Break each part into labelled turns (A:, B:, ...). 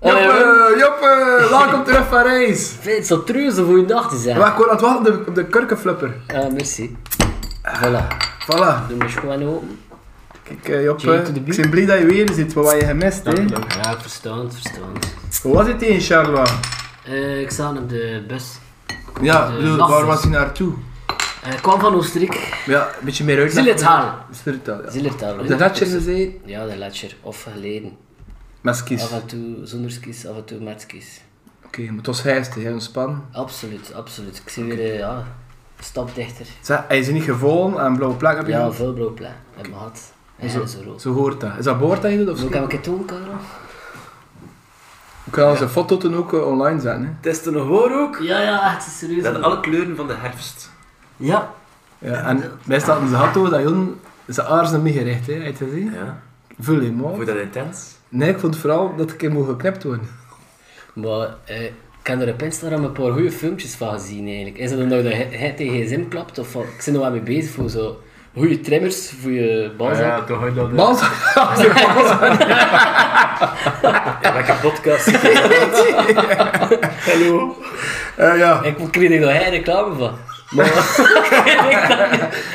A: Eh,
B: Welkom terug van reis.
A: Vind zo treurig een goede nacht te zijn.
B: Maar ik word aan het wachten op de, op de kurkenflipper.
A: Ah, merci. Voilà,
B: Voilà.
A: doe maar gewoon open.
B: Kijk, eh, Job,
A: Cheer
B: eh,
A: to the
B: ik
A: beat.
B: ben blij dat je weer zit, wat je gemist, hè.
A: Ja, verstand, verstand.
B: Hoe was het in Charlotte?
A: Eh, ik zat op de bus.
B: Ja,
A: Eh,
B: bedoel,
A: nacht
B: waar
A: is-
B: was hij naartoe?
A: Eh, ik kwam van Oostenrijk.
B: Ja, een beetje meer uit.
A: Zillertal.
B: Zillertal, ja.
A: Zillertal.
B: Op de Ratcher gezeten?
A: Ja, de Letcher. Of geleden.
B: Met skis.
A: Af
B: Oké,
A: en toe zonder skis, af en toe met skis.
B: maar het was vijftig, hè, ontspannen.
A: Absoluut, absoluut. Ik zie weer, eh, ja, een stap dichter.
B: Zeg, hij is niet gevallen aan blauwe plek heb je
A: Ja,
B: gehad?
A: veel blauw plek. Heb ik gehad. En zo, zo rood.
B: Zo hoort dat. Is dat boord dat je doet of zo?
A: Zo kan ik het doen, Karel.
B: We kunnen onze foto toen ook eh, online zetten, hè.
C: Het is te nog hoor ook.
A: Ja, ja, echt serieus.
C: We hebben alle kleuren van de herfst.
A: Ja.
B: Ja, en wij staat in zijn auto, dat Jon zijn aarzen meegericht, hè. Heb je het gezien?
C: Ja.
B: Vul hem, man.
C: Vond je dat intens?
B: Nee, ik vond vooral dat ik hem mocht geknipt worden.
A: Maar eh, ik heb er op Instagram een paar goede filmpjes van gezien eigenlijk. Is dat omdat je hij tegen je zin klapt? Of van, ik ben er wel mee bezig voor zo goede trimmers voor je balzak.
C: toch had dat...
B: Man,
C: Lekker podcast. Hallo.
B: Eh, ja.
A: Ik vond- kreeg er nog geen reclame van. Maar,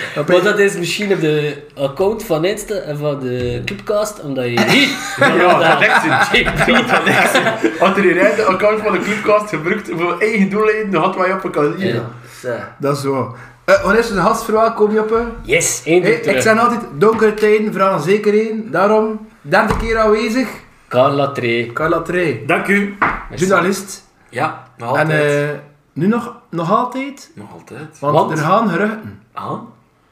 A: maar dat is misschien op de account van Insta en van de Clubcast, omdat je niet...
C: Ja, dat
A: Ik weet-
C: Had er hier rijdt de account van de Clubcast gebruikt voor eigen doeleinden, dan had wij op een kanaal.
A: Ja.
B: Dat is zo. Eh wanneer is de gast verwelkom, Joppe?
A: Yes, één
B: Hey,
A: hey,
B: ik
A: terug.
B: zeg altijd, donkere tijden vragen zeker één. Daarom, derde keer aanwezig,
A: Carla Tree.
B: Carla Trey.
C: Dank u.
B: Journalist.
C: Ja, nog
B: En
C: altijd.
B: eh, nu nog, nog altijd,
C: Nog altijd.
B: want,
A: Want?
B: er gaan geruchten
C: Ah?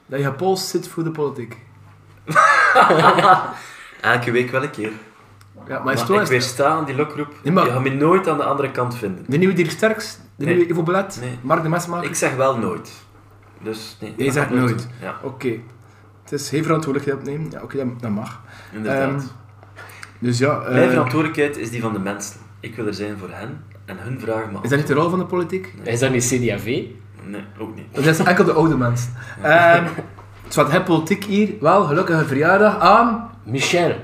B: dat je pols zit voor de politiek.
C: Elke week wel een keer.
B: Ja, maar, is
C: Maar
B: het
C: ik
B: waar? is-
C: weersta aan die lokroep.
B: Nee, maar-
C: Je gaat me nooit aan de andere kant vinden.
B: De nieuwe Dirk Sterks, de
C: Nee.
B: nieuwe Ivo Belet,
C: Nee.
B: Mark de Mesmaker.
C: Ik zeg wel nooit. Dus nee.
B: Jij
C: dat
B: zegt
C: gaat
B: nooit.
C: doen. Ja,
B: Oké. Het is geen verantwoordelijkheid opnemen. Ja, oké, dat- dat mag.
C: inderdaad.
B: Ehm, Dus ja, eh,
C: Mijn verantwoordelijkheid is die van de mensen. Ik wil er zijn voor hen en hun vragen me
B: is dat niet de rol van de politiek?
A: Is dat niet CDAV?
C: af. Nee, ook niet.
B: Dat is enkel de oude mens. Ehm het wat heb politiek hier. Wel, gelukkige verjaardag aan.
A: Michel.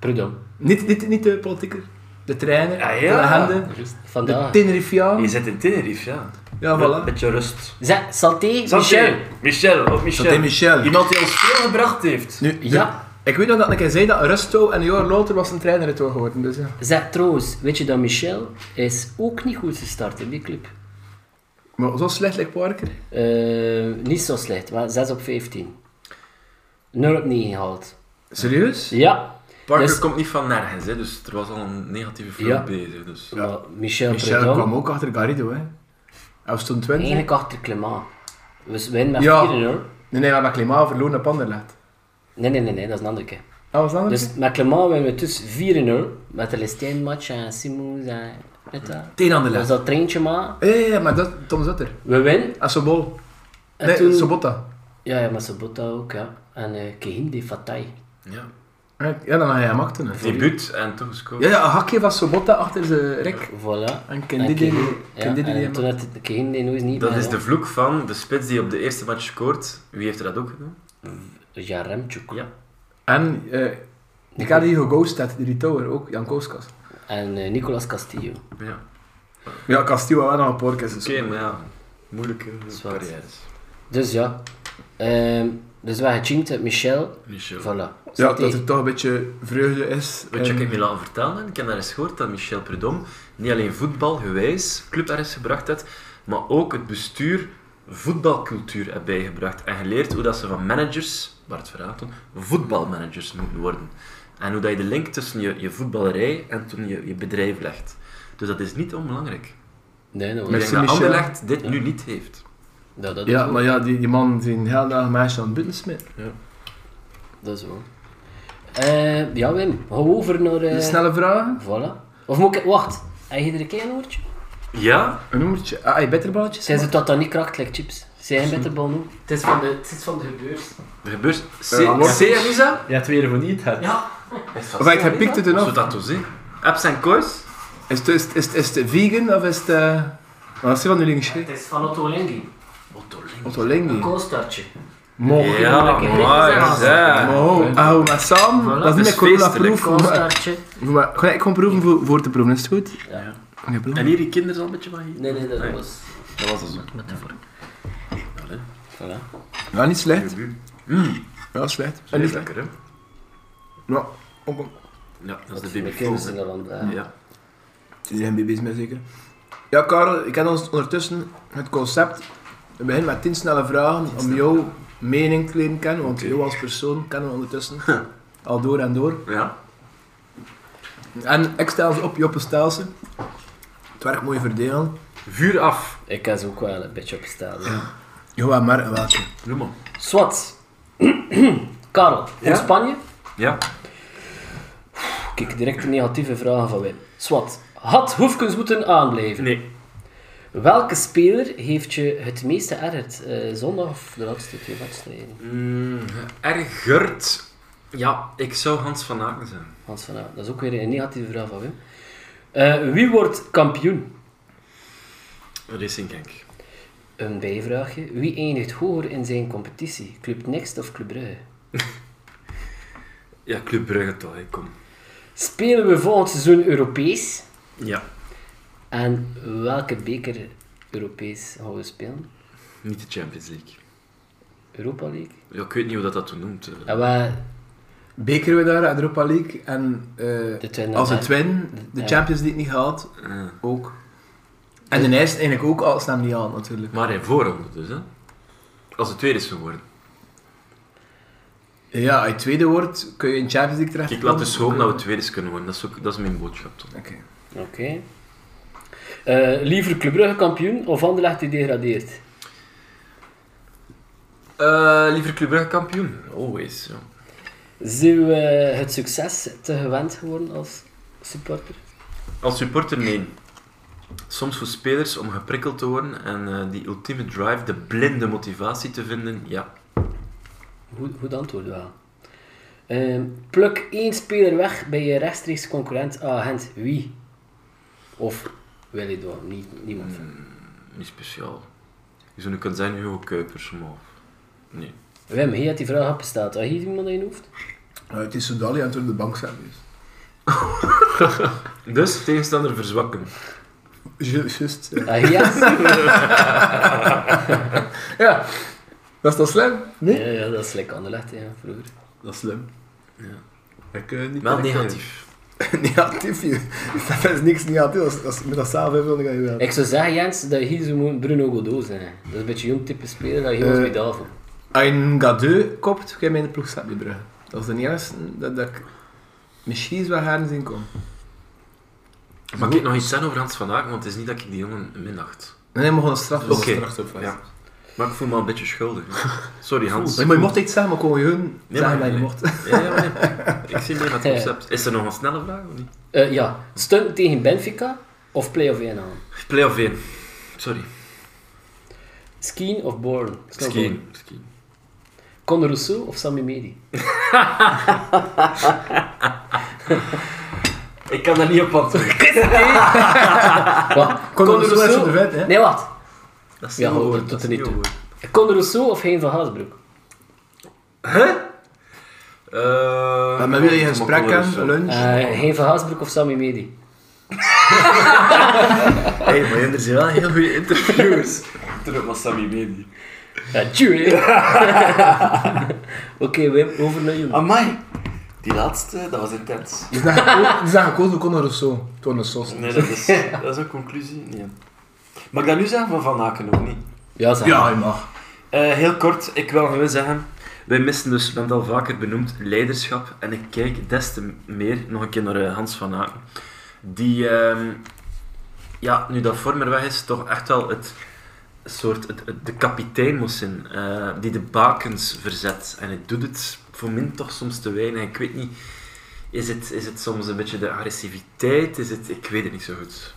A: Pardon.
B: Niet, niet, niet de politieker. De trainer,
C: Ah,
B: de
C: ja.
B: legende, de
A: Vandaag.
B: Tenerifiaan.
C: Je zit in Tenerife, ja.
B: Ah. Ja,
C: Een
B: voilà.
C: beetje rust.
A: Zeg, Santé,
C: Santé.
A: Michel.
C: Michel, of Michel.
B: Santé, Michel.
C: Iemand die ons veel gebracht heeft.
B: Nu,
A: Ja.
B: Ik weet nog dat ik zei dat Rusto en een jaar later was een trainer het wel geworden. Dus ja.
A: Zeg, trouwens, weet je dat Michel is ook niet goed gestart in die club?
B: Maar zo slecht lijkt Parker.
A: Eh, niet zo slecht, maar 6 op 15. 0 op 9 gehaald.
B: Serieus?
A: Ja,
C: Parker
A: Dus-
C: komt niet van nergens, hè, dus er was al een negatieve film
A: Ja.
C: bezig. Dus.
A: maar Michel,
B: Michel
A: Predom,
B: kwam ook achter Garrido, hè. Hij was toen 20.
A: eigenlijk achter Clément. We winnen met
B: Ja.
A: 4-0.
B: Nee, nee, we hebben Klimaat verloren op Anderlecht.
A: Nee, nee, nee, nee, dat is een andere keer.
B: Dat was dan
A: Dus met Clément winnen we tussen 4-0. Met de Lestijn match en Simons en... Weet dat?
B: Tegen
A: Dus dat treintje maar.
B: Ja, ja, ja, maar dat Tom Zutter.
A: We winnen.
B: En Sobol.
A: En
B: Nee,
A: toen-
B: Sobota.
A: Ja, ja, met Sabota ook, ja. En eh Kehinde Fatai.
C: Ja.
B: Ja, dan had hij hem achter. hè.
C: Debuut en toen gescoord.
B: Ja, ja, een hakje van Sobota achter zijn rek.
A: Voilà.
B: En Candide-
A: ja,
B: Candide die
A: en toen had het Kehinde nooit niet
C: Dat
A: meer,
C: is
A: hè.
C: de vloek van de spits die op de eerste match scoort. Wie heeft er dat ook gedaan?
A: Dus Jaremchuk.
C: Ja.
B: En eh die kan die geghost had, die tower ook, Jan Kooskas.
A: En eh, Nicolas Castillo.
C: ja.
B: Ja, Castillo had wel nog een dus- paar keer
C: Oké, maar ja, moeilijke
A: wat.
C: carrières.
A: Dus ja. Ehm, dus we hebben gechimpt met Michel.
C: Michel.
A: Voilà.
B: Ja,
A: Zat
B: dat
A: hij-
B: er toch een beetje vreugde is.
C: Weet je
B: En-
C: wat ik me laten vertellen? Ik heb daar eens gehoord dat Michel Prudhomme niet alleen voetbalgewijs club ergens gebracht had, maar ook het bestuur voetbalcultuur heeft bijgebracht en geleerd hoe dat ze van managers, Bart Verraten, voetbalmanagers moeten worden. En hoe dat je de link tussen je, je voetballerij en toen je, je bedrijf legt. Dus dat is niet onbelangrijk.
A: Nee, dat was
C: Ik denk
B: Merci,
C: dat
B: Michel.
C: Anderlecht dit nu niet heeft.
A: ja, dat,
B: Ja,
A: is
B: maar
A: wel.
B: ja, die, die man die een hele dag meisje aan het buiten smijt.
A: Dat is wel. Eh, ja, Wim. Hou over naar... eh,
B: Een snelle vraag,
A: Voilà. Of moet ik... Wacht. Heb je er een keer een woordje?
C: Ja?
B: een nummertje. Ah, je bitterballetjes?
A: Zijn ze dat dan niet kracht, like chips? Zijn je bitterbal nu? Het is van de, het is van de beurs.
C: Er gebeurt...
B: Eh,
C: C-
B: wordt-
C: Seanisa?
D: Je hebt weer voor niet het.
A: Ja.
B: Of heb je gepikt het
C: Zo
B: eraf?
C: dat te zien. Apps en koers?
B: Is het, is, het- is, het- is het vegan of is het... eh, Wat is er van jullie geschreven?
A: Het is van Otto Lengi.
B: Otto
A: Een
B: Lengi.
A: koolstartje.
B: Mooi.
C: Ja,
A: Mooi,
C: mooi.
A: zeg.
B: Oh, oh, maar Sam,
A: Voilà.
B: dat is
C: Dus
B: niet corona-proof.
C: feestelijk.
B: maar-
A: Koolstartje.
B: Maar, ga ik gewoon proeven voor, voor te proeven, is het goed?
A: Ja.
B: Ja, belangrijk.
C: En hier die kinderen al een beetje van hier?
A: Nee, nee, dat
C: Nee.
A: was
C: Dat was dat zo.
A: met de vork.
C: Allee.
A: Voilà.
B: Ja, niet slecht.
C: Mmm,
B: Ja, slecht.
C: dat is lekker, hè?
B: Ja, op een...
C: Ja, dat
A: Dat
C: is
A: is
C: de baby
A: kinderen in
C: Fox,
A: Holland.
C: hè.
A: Ja.
C: Ja.
B: Zijn jullie BB's mee zeker? Ja, Karel, ik heb ons ondertussen het concept. We beginnen met 10 snelle vragen om jouw mening te leren kennen, want
C: Oké.
B: jou als persoon kennen we ondertussen al door en door.
C: Ja.
B: En ik stel ze op, Joppe stelt ze. Het werkt mooi verdelen.
C: Vuur af.
A: Ik kan ze ook wel een beetje opstaan.
B: Jawel, maar en welke?
C: Noem maar.
A: Swat. Karel, in
C: Ja?
A: Spanje.
C: Ja.
A: Kijk, direct de negatieve vragen van Wim. Swat. Had Hoefkens moeten aanblijven.
C: Nee.
A: Welke speler heeft je het meeste ergerd? eh, zondag of de laatste twee wedstrijden?
C: Mm, ergert. Ja, ik zou Hans van Aken zijn.
A: Hans van Aert. Dat is ook weer een negatieve vraag van Wim. Eh, wie wordt kampioen?
C: Racing Genk.
A: Een bijvraagje. Wie eindigt hoger in zijn competitie? Club Next of Club Brugge?
C: Ja, Club Brugge toch, hè. kom.
A: Spelen we volgend seizoen Europees?
C: Ja.
A: En welke beker Europees gaan we spelen?
C: Niet de Champions League.
A: Europa League?
C: Ja, ik weet niet hoe dat dat toen noemt. eh.
A: En wel,
B: Bekeren we daar, Europa League. En eh,
A: de tweede
B: als
A: naam,
B: het
A: hè?
B: win, de
A: Ja.
B: Champions League niet haalt,
C: Eh.
B: ook. En de Nijs eigenlijk ook, als ze hem niet haalt natuurlijk.
C: Maar in voorronde dus, hè. Als het tweede is geworden.
B: Ja, als je tweede wordt, kun je in Champions League terecht.
C: Kijk, laat dus hopen dat we tweede is kunnen worden. Dat is, ook, dat is mijn boodschap, toch.
B: Oké.
A: Oké. Eh, liever Club Brugge kampioen of Anderlecht die degradeert?
C: Eh, liever Club Brugge kampioen. Always, ja.
A: Zijn we eh, het succes te gewend geworden als supporter?
C: Als supporter, nee. Soms voor spelers om geprikkeld te worden en eh, die ultieme drive, de blinde motivatie te vinden, ja.
A: Goed, goed antwoord wel. Eh, pluk één speler weg bij je rechtstreeks concurrent agent. Wie? Of wil je dat? Niet, niemand.
C: Niet speciaal. Je zou nu kunnen zijn Hugo Kuipers, maar... Nee.
A: Wim, hij had die vraag opgesteld. Had je iemand in je hoofd?
B: Nou, het is Soudali aan het door de bank zijn dus.
C: Dus, tegenstander verzwakken.
B: Ju- Juist. ja.
A: Ah, yes.
B: Ja. Was dat slim? Nee?
A: ja, ja, dat is lekker Anderlecht, ja, vroeger.
B: Dat is slim.
C: Ja.
B: Ik, eh, niet
C: Wel
B: direct-
C: negatief.
B: negatief, joh. dat is niks negatief. Als, als je dat zelf hebt, dan ga je wel.
A: Ik zou zeggen, Jens, dat je hier zo moet Bruno Godot zijn. Dat is een beetje jong type speler, dat je ons
B: Eh,
A: bij daarvoor.
B: Als je een gadeu kopt, ga je mij in de ploeg zetten, bij Brugge. Dat is de eerste dat, dat ik misschien eens wel gaan zien komen.
C: Maar ik nog iets zeggen over Hans van Aken, want het is niet dat ik die jongen minacht.
B: Nee, nee, we gaan een straf
C: Oké.
B: Dus een straf op-
C: Ja. Maar ik voel me al een beetje schuldig. Sorry Hans.
B: Nee, maar je mocht iets zeggen, maar kon je hun zeggen
C: maar-
B: dat je
C: nee.
B: mocht.
C: Ja, ja, maar nee. Ik zie meer met het concept. Is er nog een snelle vraag of niet?
A: Eh, ja, stunt tegen Benfica of play-off 1 aan?
C: Play of 1. Sorry.
A: Skiën of Born?
C: Skiën. Skiën.
A: Conor Rousseau of Sammy Medi?
C: Ik kan daar niet op antwoorden.
A: Wat?
B: Conor Rousseau is in de wet, hè?
A: Nee, wat?
C: Dat is
A: Ja,
C: niet
A: hoor,
C: hoor,
A: tot
C: dat
A: er
C: is
A: niet
C: niet
A: toe.
C: hoor.
A: Conor Rousseau of Hein van Haasbroek?
C: Eh,
B: Maar wil je een
C: maar
B: gesprek
C: Conor is
B: hebben,
C: wel-
B: een lunch?
A: Eh Hein van Haasbroek of Sammy Medi?
C: Hé, maar jullie zijn wel heel goede interviews. Terug naar Sammy Medi.
A: Ja, tjoe, hè. Oké, Wim, over naar jullie.
C: Amai. Die laatste, dat was intens.
B: Die zijn geko- die zijn gekozen door Conor Rousseau. Toen de sos.
C: Nee, dat is, dat is een conclusie. Nee. Mag ik dat nu zeggen van Van Aken ook niet?
A: Ja, zeg.
B: Ja, je mag.
C: Eh, heel kort, ik wil gewoon zeggen. Wij missen dus, ik ben het al vaker benoemd, leiderschap. En ik kijk des te meer nog een keer naar eh, Hans van Aken. Die, ehm, ja, nu dat Vormer weg is, toch echt wel het soort, het, het- de kapitein moest zijn. eh, die de bakens verzet. En het doet het voor min toch soms te weinig. Ik weet niet, is het, is het soms een beetje de agressiviteit? Is het, ik weet het niet zo goed.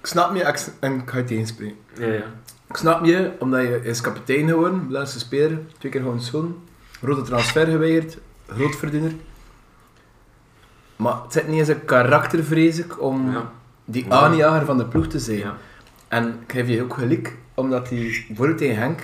B: Ik snap je ex- en ik ga je tegenspreken.
C: Ja, ja.
B: Ik snap je, omdat je is kapitein geworden, belangrijkste speler, twee keer gewoon schoon, rode transfer geweigerd, grootverdiener. Maar het zit niet eens een karakter, vrees ik, om
C: Ja.
B: die
C: Ja.
B: aanjager van de ploeg te zijn.
C: Ja.
B: En ik geef je ook gelijk, omdat hij bijvoorbeeld tegen Henk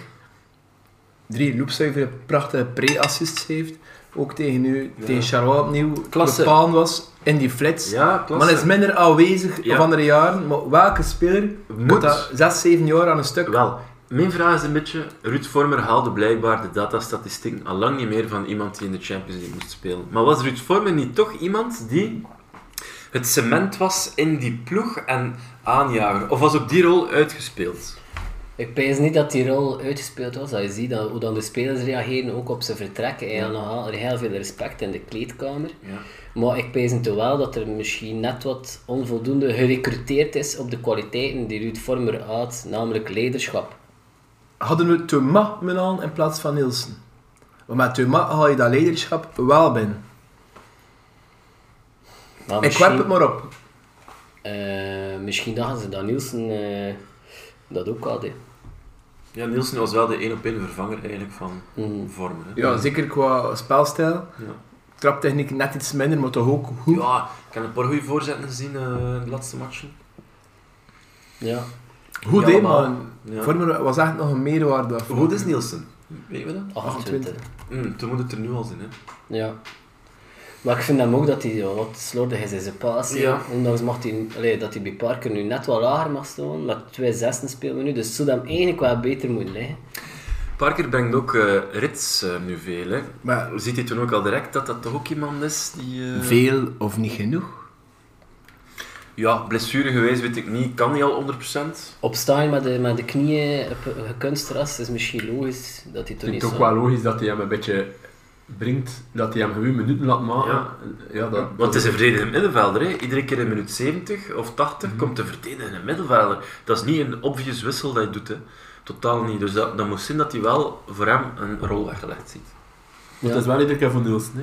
B: drie loopzuivere prachtige pre-assists heeft. ook tegen u,
C: Ja.
B: tegen Charlois opnieuw,
A: Klasse.
B: bepalend was in die flits.
C: Ja,
B: Maar
C: klasse.
B: is minder aanwezig
C: Ja.
B: van andere jaren. Maar welke speler moet dat 6, 7 jaar aan een stuk?
C: Wel, mijn vraag is een beetje... Ruud Vormer haalde blijkbaar de datastatistieken al lang niet meer van iemand die in de Champions League moest spelen. Maar was Ruud Vormer niet toch iemand die het cement was in die ploeg en aanjager? Of was op die rol uitgespeeld?
A: Ik peins niet dat die rol uitgespeeld was. Dat je ziet dat, hoe dan de spelers reageren, ook op zijn vertrek. Hij had nogal heel veel respect in de kleedkamer.
C: Ja.
A: Maar ik peins toch wel dat er misschien net wat onvoldoende gerecruiteerd is op de kwaliteiten die Ruud Vormer had, namelijk leiderschap.
B: Hadden we Thomas Menan in plaats van Nielsen? Want met Thomas haal je dat leiderschap wel binnen.
A: Maar
B: Ik
A: misschien-
B: werp het maar op.
A: Eh, misschien dachten ze dat Nielsen eh, dat ook had. hè.
C: Ja, Nielsen was wel de één op één vervanger eigenlijk van
A: Mm.
C: Vormer. hè.
B: Ja, zeker qua spelstijl.
C: Ja.
B: Traptechniek net iets minder, maar toch ook goed.
C: Ja, ik heb een paar goede voorzetten gezien eh, in de laatste matchen.
A: Ja.
B: Goed
C: Ja,
B: hè,
C: maar-
B: maar
C: Ja.
B: voor me was echt nog een meerwaarde.
C: Hoe goed is Nielsen? Weet je dat?
A: 28.
C: Hm, toen moet het er nu al zijn, hè.
A: Ja. Maar ik vind hem ook dat hij ja, wat slordig is in zijn paas. hè.
C: Ja.
A: Ondanks mag hij, allee, dat hij bij Parker nu net wat lager mag staan. Met twee zessen spelen we nu, dus zou hem eigenlijk wel beter moeten liggen.
C: Parker brengt ook eh, Rits eh, nu veel, hè.
B: Maar
C: Ziet hij toen ook al direct dat dat toch ook iemand is die... eh,
B: veel of niet genoeg?
C: Ja, blessure geweest weet ik niet. Kan hij al 100%?
A: Opstaan met de, met de knieën op een kunstras is misschien logisch dat hij
D: Ik
A: toen
D: vind
A: niet
D: het ook
A: zou-
D: wel logisch dat hij hem een beetje brengt, dat hij hem gewoon minuten laat maken.
C: Ja.
D: Ja. dat,
C: Want het is een verdedigende middenvelder. Hè. Iedere keer in minuut 70 of 80
B: Mhm.
C: komt de verdedigende middenvelder. Dat is niet een obvious wissel dat je doet. Hè. Totaal niet. Dus dat, dat moet zijn dat hij wel voor hem een rol weggelegd ziet.
D: Want het is
A: Ja.
D: wel iedere keer voor Nielsen. Hè.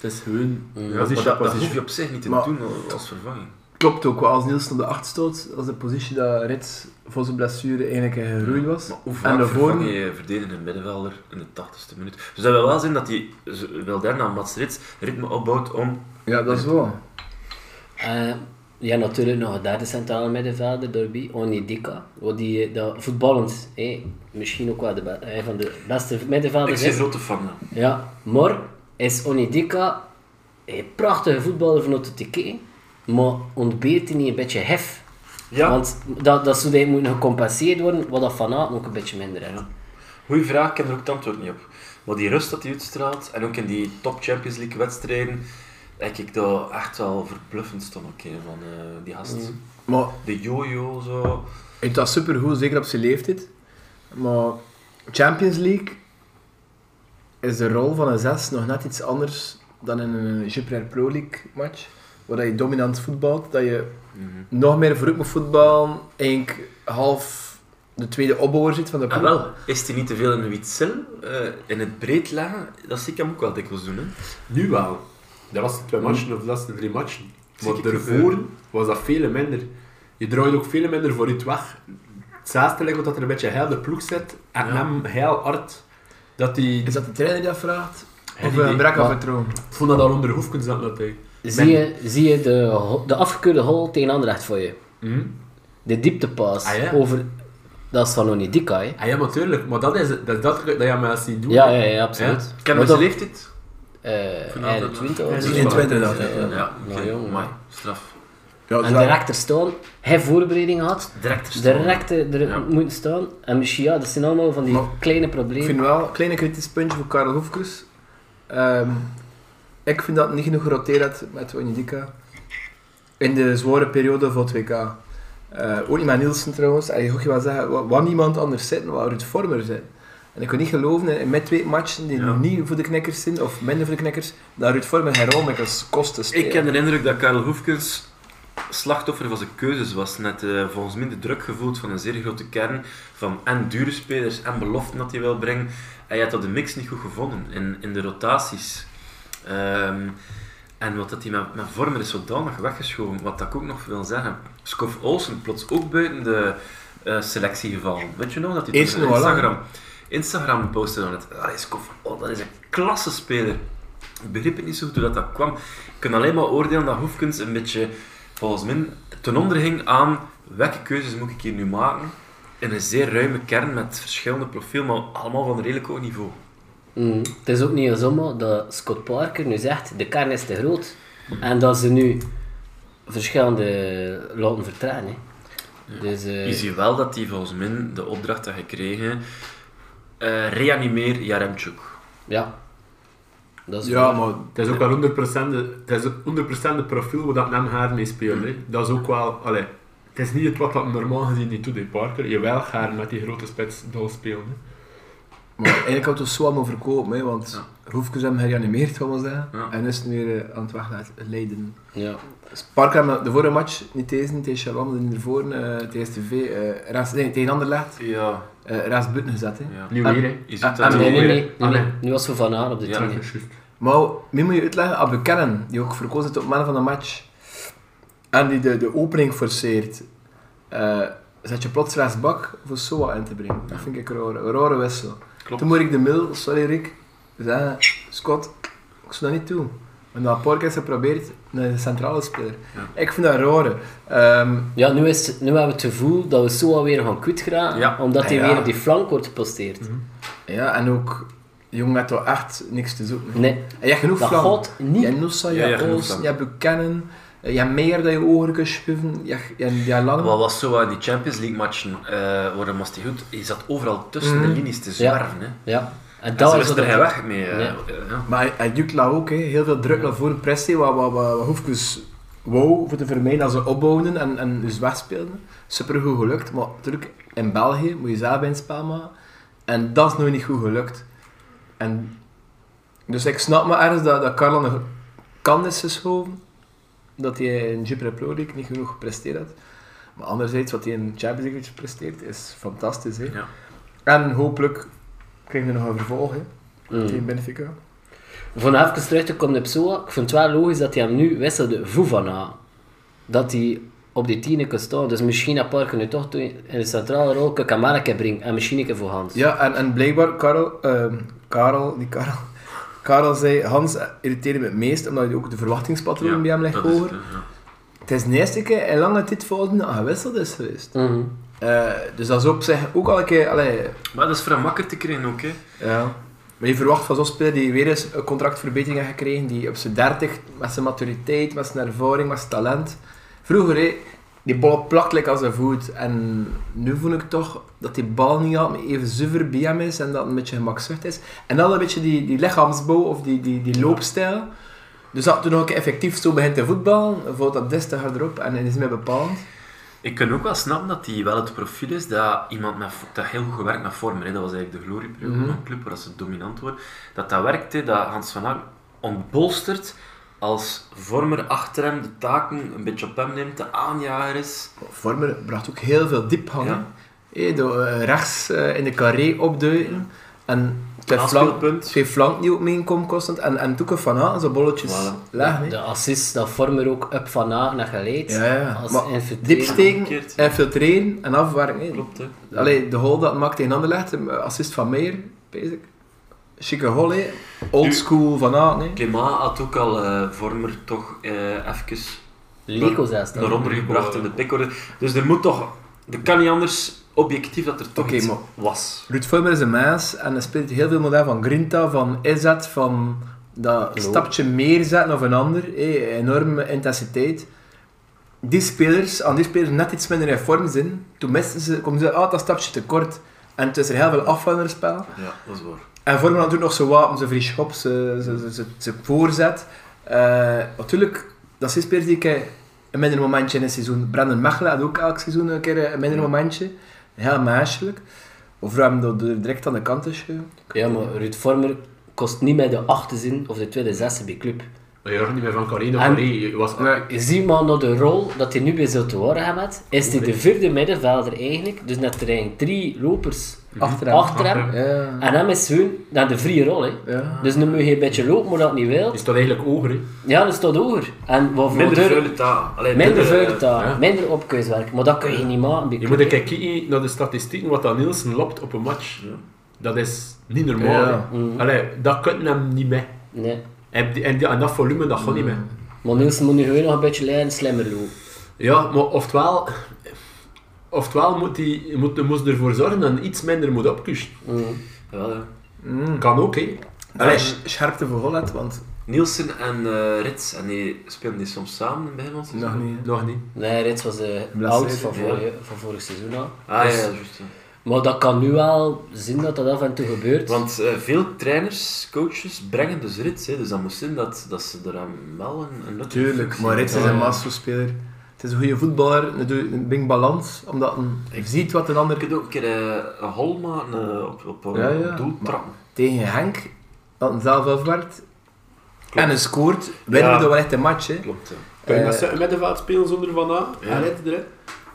D: Het is gewoon
A: Ja,
C: maar dat,
D: position,
C: dat hoef
D: position.
C: je op zich niet te
B: Maar-
C: doen al- als vervanging.
B: Klopt ook wel, als Nielsen op de 8 stoot, als de positie dat Rits voor zijn blessure eigenlijk in geroeid was.
C: Maar hoe
B: En
C: vaak
B: daarvoor-
C: vervang je je verdedigende middenvelder in de 80ste minuut? Dus dat wil wel zijn dat hij z- wel daarna Mats Rits ritme opbouwt om...
B: Ja, dat is wel.
A: Eh, ja, natuurlijk nog een derde centrale middenvelder, Derby, Onidika. Wat die, eh, dat, voetballend, eh, misschien ook wel de be- een van de beste
C: Ik
A: middenvelders
C: zie
A: is.
C: grote fan. hè.
A: Ja, maar is Onidika een prachtige voetballer vanuit de TK, maar ontbeert hij niet een beetje hef? Want dat, dat zou hij moeten gecompenseerd worden, wat dat van Aert ook een beetje minder is.
C: Ja. Goeie vraag, ik heb er ook het antwoord niet op. Maar die rust dat hij uitstraalt, en ook in die top Champions League wedstrijden, heb ik daar echt wel verbluffend stond ook in van eh, die gast.
B: Maar
C: De jojo, zo.
B: Hij doet dat supergoed, zeker op zijn leeftijd. Maar Champions League is de rol van een zes nog net iets anders dan in een Jupiler Pro League match. Waar dat je dominant voetbalt, dat je
D: Mhm.
B: nog meer vooruit moet voetballen. Eigenlijk half de tweede opbouwer zit van de
C: Ah,
B: ploeg.
C: wel, is hij niet te veel in de witsil, eh, in het breed leggen, dat zie ik hem ook wel dikwijls doen. Hè.
D: Nu wel. Mm. De laatste twee matchen of de laatste drie matchen.
C: Zie
D: Maar
C: ik
D: daarvoor
C: gebeuren.
D: was dat veel minder. Je draait ook veel minder vooruit weg. Het zesde lijkt dat er een beetje heel de ploeg zit en
C: Ja.
D: hem heel hard. Dat eh, die,
B: Is dat de trainer die dat vraagt?
D: Geen
B: of eh, een
D: idee.
B: brak aan
D: Maar-
B: vertrouwen?
D: ik vond dat al onder hoef kunnen zetten dat hij.
A: Zie je, zie je de, ho- de afgekeurde hol tegen Anderlecht voor je?
D: Hm?
A: De dieptepaas
D: Ah, ja?
A: over... Dat is van Onidika, hè?
D: Ah ja, maar tuurlijk. Maar dat is dat, is dat, dat je mij ziet doen.
A: Ja, ja, ja, absoluut.
C: Ken
A: Maar
C: je zijn
A: dat-
C: leeftijd?
A: eh,
C: Vanavond,
A: einde
C: ja.
A: 20 of
B: Ja,
A: zo.
B: 21 dat,
C: Ja,
B: ja.
C: ja,
A: Nou,
C: oké,
A: jongen.
C: amai, straf.
A: En direct er staan, hij voorbereiding had,
C: Direct erstoor.
A: direct er er
C: Ja.
A: moeten staan. En misschien, ja, dat zijn allemaal van die
B: Maar-
A: kleine
B: Ik
A: problemen.
B: vind wel een kleine kritisch puntje voor Karel Hoefkes. Ehm, ik vind dat het niet genoeg geroteerd had met Onyedika in de zware periode van het WK. Eh, ook niet met Nielsen trouwens. En je hoort je wel zeggen, wa- waar niemand anders zit, waar Ruud Vormer zit. En ik kan niet geloven, in- in met twee matchen die
C: Ja.
B: niet voor de knikkers zijn, of minder voor de knikkers, dat Ruud Vormer geen rol meer als kosten speelt.
C: Ik heb de indruk dat Karel Hoefkens slachtoffer van zijn keuzes was. Net eh, volgens mij de druk gevoeld van een zeer grote kern van en dure spelers en beloften dat hij wil brengen. Hij had dat de mix niet goed gevonden in, in de rotaties. Ehm, en wat dat hij met, met vormen is zodanig weggeschoven. Wat dat ik ook nog wil zeggen. Scoff Olsen plots ook buiten de eh, selectie gevallen. Weet je nog dat hij
B: Eerst
C: toen op
B: nog wel, hè?
C: Instagram, Instagram postte dan het. Allee, Scoff, oh, dat is een klasse speler. Ik begreep het niet zo goed hoe dat, dat kwam. Ik kan alleen maar oordelen dat Hoefkens een beetje, volgens mij, ten onder ging aan welke keuzes moet ik hier nu maken. In een zeer ruime kern met verschillende profielen, maar allemaal van redelijk hoog niveau.
A: Mm. Het is ook niet zomaar dat Scott Parker nu zegt, de kern is te groot. En dat ze nu verschillende laten vertragen. Hè. Dus, eh,
C: Je ziet wel dat hij volgens mij de opdracht had gekregen. eh, reanimeer Jaremchuk.
A: ja. Dat is
B: Ja,
A: waar.
B: maar
D: Het is ook wel 100%, de- het is 100 de profiel wat dat hem haar mee speelt. hè. Dat is ook wel... Allee, het is niet het wat dat normaal gezien niet doet, hè, Parker. Je wel haar met die grote spits dol spelen. hè.
B: Maar eigenlijk had het zo allemaal verkopen, hè, want Roefkes hebben gereanimeerd, kan maar zeggen.
C: Ja.
B: En is het weer eh, aan het weg naar Leiden.
A: ja.
B: Dus Parker hebben de vorige match, niet deze, tegen Chalam, niet ervoor, eh, tegen STV, eh, Raas- nee, tegen Anderlecht,
C: Ja.
B: eh Raas Butten gezet. Hè.
C: ja.
D: Nu
B: Ah,
D: weer, hè.
C: Je
B: Ah,
C: ziet
B: ah,
C: dat
A: Nee, nee,
C: wel.
D: weer,
A: nee.
D: hè.
A: nee,
D: Ah,
A: nee.
D: nee.
A: Nu was we van haar op de
C: Ja,
A: tien.
D: Dat
A: hè.
D: is juist.
B: Maar nu moet je uitleggen aan Bekennen, die ook verkozen is tot man van de match, en die de, de opening forceert, eh, zet je plots rechtsbak voor Soa in te brengen. Dat vind ik een rare, een rare wissel.
C: Klopt.
B: Toen moet ik de mail, sorry Rick, zeggen, Scott, ik zou dat niet doen. En dat Parker heeft geprobeerd, dat is een centrale speler.
C: Ja.
B: Ik vind dat rare. Ehm,
A: Ja, nu, is, nu hebben we het gevoel dat we zo alweer gaan kwijt geraken,
C: Ja.
A: omdat hij
B: Ja.
A: weer op die flank wordt geposteerd.
B: ja, en ook, de jongen had toch echt niks te zoeken.
A: Nee,
B: En je hebt genoeg
A: dat
B: vlam.
A: gaat niet.
B: Je hebt Nusa, je
C: Ja, ja,
B: hebt
C: genoeg
B: Olsen,
C: dan.
B: je hebt Buchanan, eh, je hebt meer dat je ogen kunt schuiven, je hebt- je hebt die lange.
C: Wat was zo in die Champions League matchen, eh worden moest hij goed, hij zat overal tussen de
B: Mhm.
C: linies te zwerven. Hè.
A: Ja, en
C: Dat
A: dat
C: ze
A: is
C: wisten er
A: wat
C: geen
A: ik-
C: weg mee. eh,
A: Nee.
C: eh, ja.
B: Maar hij, hij duwt dat ook, hè. heel veel druk naar voren, pressie, wat, wat, wat, wat Hoefkes wou voor te vermijden dat ze opbouwden en, en dus wegspeelden. Supergoed gelukt, maar natuurlijk in België moet je zelf een spel maken. En dat is nog niet goed gelukt. En, dus ik snap me ergens dat, dat Carl aan de kan is geschoven, dat hij in Jupiter Pro League niet genoeg gepresteerd had. Maar anderzijds, wat hij in Champions League heeft gepresteerd, is fantastisch. Hè.
C: Ja.
B: En hopelijk krijgen we nog een vervolg hè,
A: Mm.
B: tegen Benfica.
A: Van even terug te komen op Soa, ik vind het wel logisch dat hij hem nu wisselde voor Van Haan. Dat hij op die tiende kan staan. Dus misschien dat Parker nu toch toe- in de centrale rol kan Kamerke brengen en misschien een keer voor Hans.
B: Ja, en, en blijkbaar, Karel, ehm, Karel, die Karel, Karel zei, Hans irriteerde me het meest, omdat hij ook de verwachtingspatroon bij hem legt
C: dat is
B: over.
C: het, hè, ja.
B: Het is de eerste keer in lange tijd volgens mij dat hij gewisseld is geweest.
A: Mhm.
B: Eh, dus dat is op zich ook al een keer, allee,
C: Maar dat is vrij makkelijk te krijgen ook. Hè.
B: ja. Maar je verwacht van zo'n speler die weer eens een contractverbetering heeft gekregen, die op zijn 30 met zijn maturiteit, met zijn ervaring, met zijn talent. Vroeger, hé, die bal plakt like als een voet. En nu voel ik toch dat die bal niet altijd even zuiver bij hem is en dat het een beetje gemakzucht is. En dan een beetje die, die lichaamsbouw of die, die, die loopstijl. Dus dat toen ook effectief zo begint te voetballen, valt dat des te harder op en is mij bepaald.
C: Ik kan ook wel snappen dat hij wel het profiel is dat iemand met, dat heel goed werkt met vormen. Hè. Dat was eigenlijk de glorieperiode
B: Mhm.
C: van een club, waar ze dominant worden. Dat dat werkte, dat Hans van Haar ontbolstert als vormer achter hem de taken een beetje op hem neemt, de aanjager is.
B: Vormer bracht ook heel veel diepgang.
C: Ja.
B: Hé, door, eh, rechts eh, in de carré opduiken. En twee flank,
C: Aanspeelpunt.
B: twee flank die ook meenkomen constant. En, en toeken van aan, zo bolletjes
C: Voilà.
B: leggen.
A: De
B: Ja,
A: assist, dat vormen ook up van Haan naar geleid.
B: ja. ja.
A: Als
B: Maar
A: infiltreren.
B: diep steken,
C: Omgekeerd.
B: infiltreren en afwerken. hé.
C: Klopt, hè.
B: Allee, de goal dat maakt tegen Anderlecht, een eh, assist van Meijer, basic. Chique goal, hé. Old
C: Nu-
B: school van aan, hé.
C: Clément had ook al eh, vormer toch eh even
A: Leko zelfs
C: naar
A: dan.
C: onder gebracht in de pickorder. Dus er moet toch... Dat kan niet anders objectief dat er toch
B: Oké,
C: iets
B: maar-
C: was.
B: Ruud Vormer is een mens en hij speelt heel veel model van Grinta, van inzet, van dat
A: Klopt.
B: stapje meer zetten of een ander. hé, enorme intensiteit. Die spelers, aan die spelers net iets minder in vorm zijn, toen misten ze, komen ze uit dat stapje tekort. En toen is er heel veel afval in het spel.
C: Ja, dat is waar.
B: En Vormer had natuurlijk nog zijn wapen, zijn free hop, zijn, zijn, zijn, zijn, zijn voorzet. Eh, natuurlijk, dat zijn spelers die ik eh, een minder momentje in het seizoen. Brandon Mechelen had ook elk seizoen een keer eh, een minder momentje. Heel meiselijk. Of hem door, door direct aan de kant te schuiven.
A: Ja, maar Ruud Vormer kost niet meer de achtste zin of de tweede zesde bij club.
D: Maar je hoort niet meer van Carré naar
A: En-
D: Carré. Je was...
A: Je ziet maar naar de rol dat hij nu bij zou te worden gaat, is hij de vierde middenvelder eigenlijk. Dus net er eigenlijk drie lopers
B: Achter hem.
A: achter hem.
D: Achter
B: Ja.
A: En hem is gewoon naar de vrije rol. Hè.
B: ja.
A: Dus nu moet je een beetje lopen, maar dat niet wil.
D: Je staat eigenlijk hoger, hè.
A: Ja, dat staat hoger. En wat voor
C: Minder
A: deur-
C: vuile taal. Allee,
A: minder
C: minder, eh,
A: vuile taal,
D: ja.
A: minder opkuiswerk. Maar dat kun je niet maken. bij
D: Je
A: club,
D: moet een
A: hè.
D: keer kijken naar de statistieken wat dat Nielsen loopt op een match. Dat is niet normaal.
B: Ja.
D: hè. Allee, dat kan hem niet mee.
A: Nee.
D: En, die- en, die- en dat volume, dat gaat niet mee.
A: Maar Nielsen moet nu gewoon nog een beetje lijn slimmer lopen.
D: Ja, maar oftewel... Oftewel moet hij moet, moest ervoor zorgen dat hij iets minder moet opkussen.
A: Mm.
C: Jawel, ja.
B: Mm.
D: Kan ook, hè.
B: Allee,
C: En-
B: sch- scherpte voor Holland, want
C: Nielsen en eh, Rits, en die speelden die soms samen bij ons?
B: nog niet. hè.
D: Nog niet.
A: Nee, Rits was de
B: Blessure,
A: oud van,
C: ja.
A: vorige, van vorig seizoen al.
C: Ah
A: Dus-
C: ja, juist. ja.
A: Maar dat kan nu wel zien dat dat af en toe gebeurt.
C: Want eh, veel trainers, coaches brengen dus Rits, hè, dus dat moet zijn dat, dat ze er aan wel een, een nuttige
B: Tuurlijk,
C: functie
B: maar Rits is
C: hebben.
B: een
A: Ja.
B: masterspeler. Het is een goede voetballer, een doe- een brengt balans, omdat hij ziet wat een ander
C: Ik heb ook een keer eh, een Holma eh, op, op een
B: Ja, ja.
C: doel trappen.
B: tegen Henk, dat hij zelf afwerkt en hij scoort, winnen
C: Ja.
B: we dan wel echt een match. Hè.
C: Klopt, ja.
D: Kun je
B: Eh,
D: dat zetten met de vaat spelen zonder Van A?
C: Ja.
D: Ja. Red erin.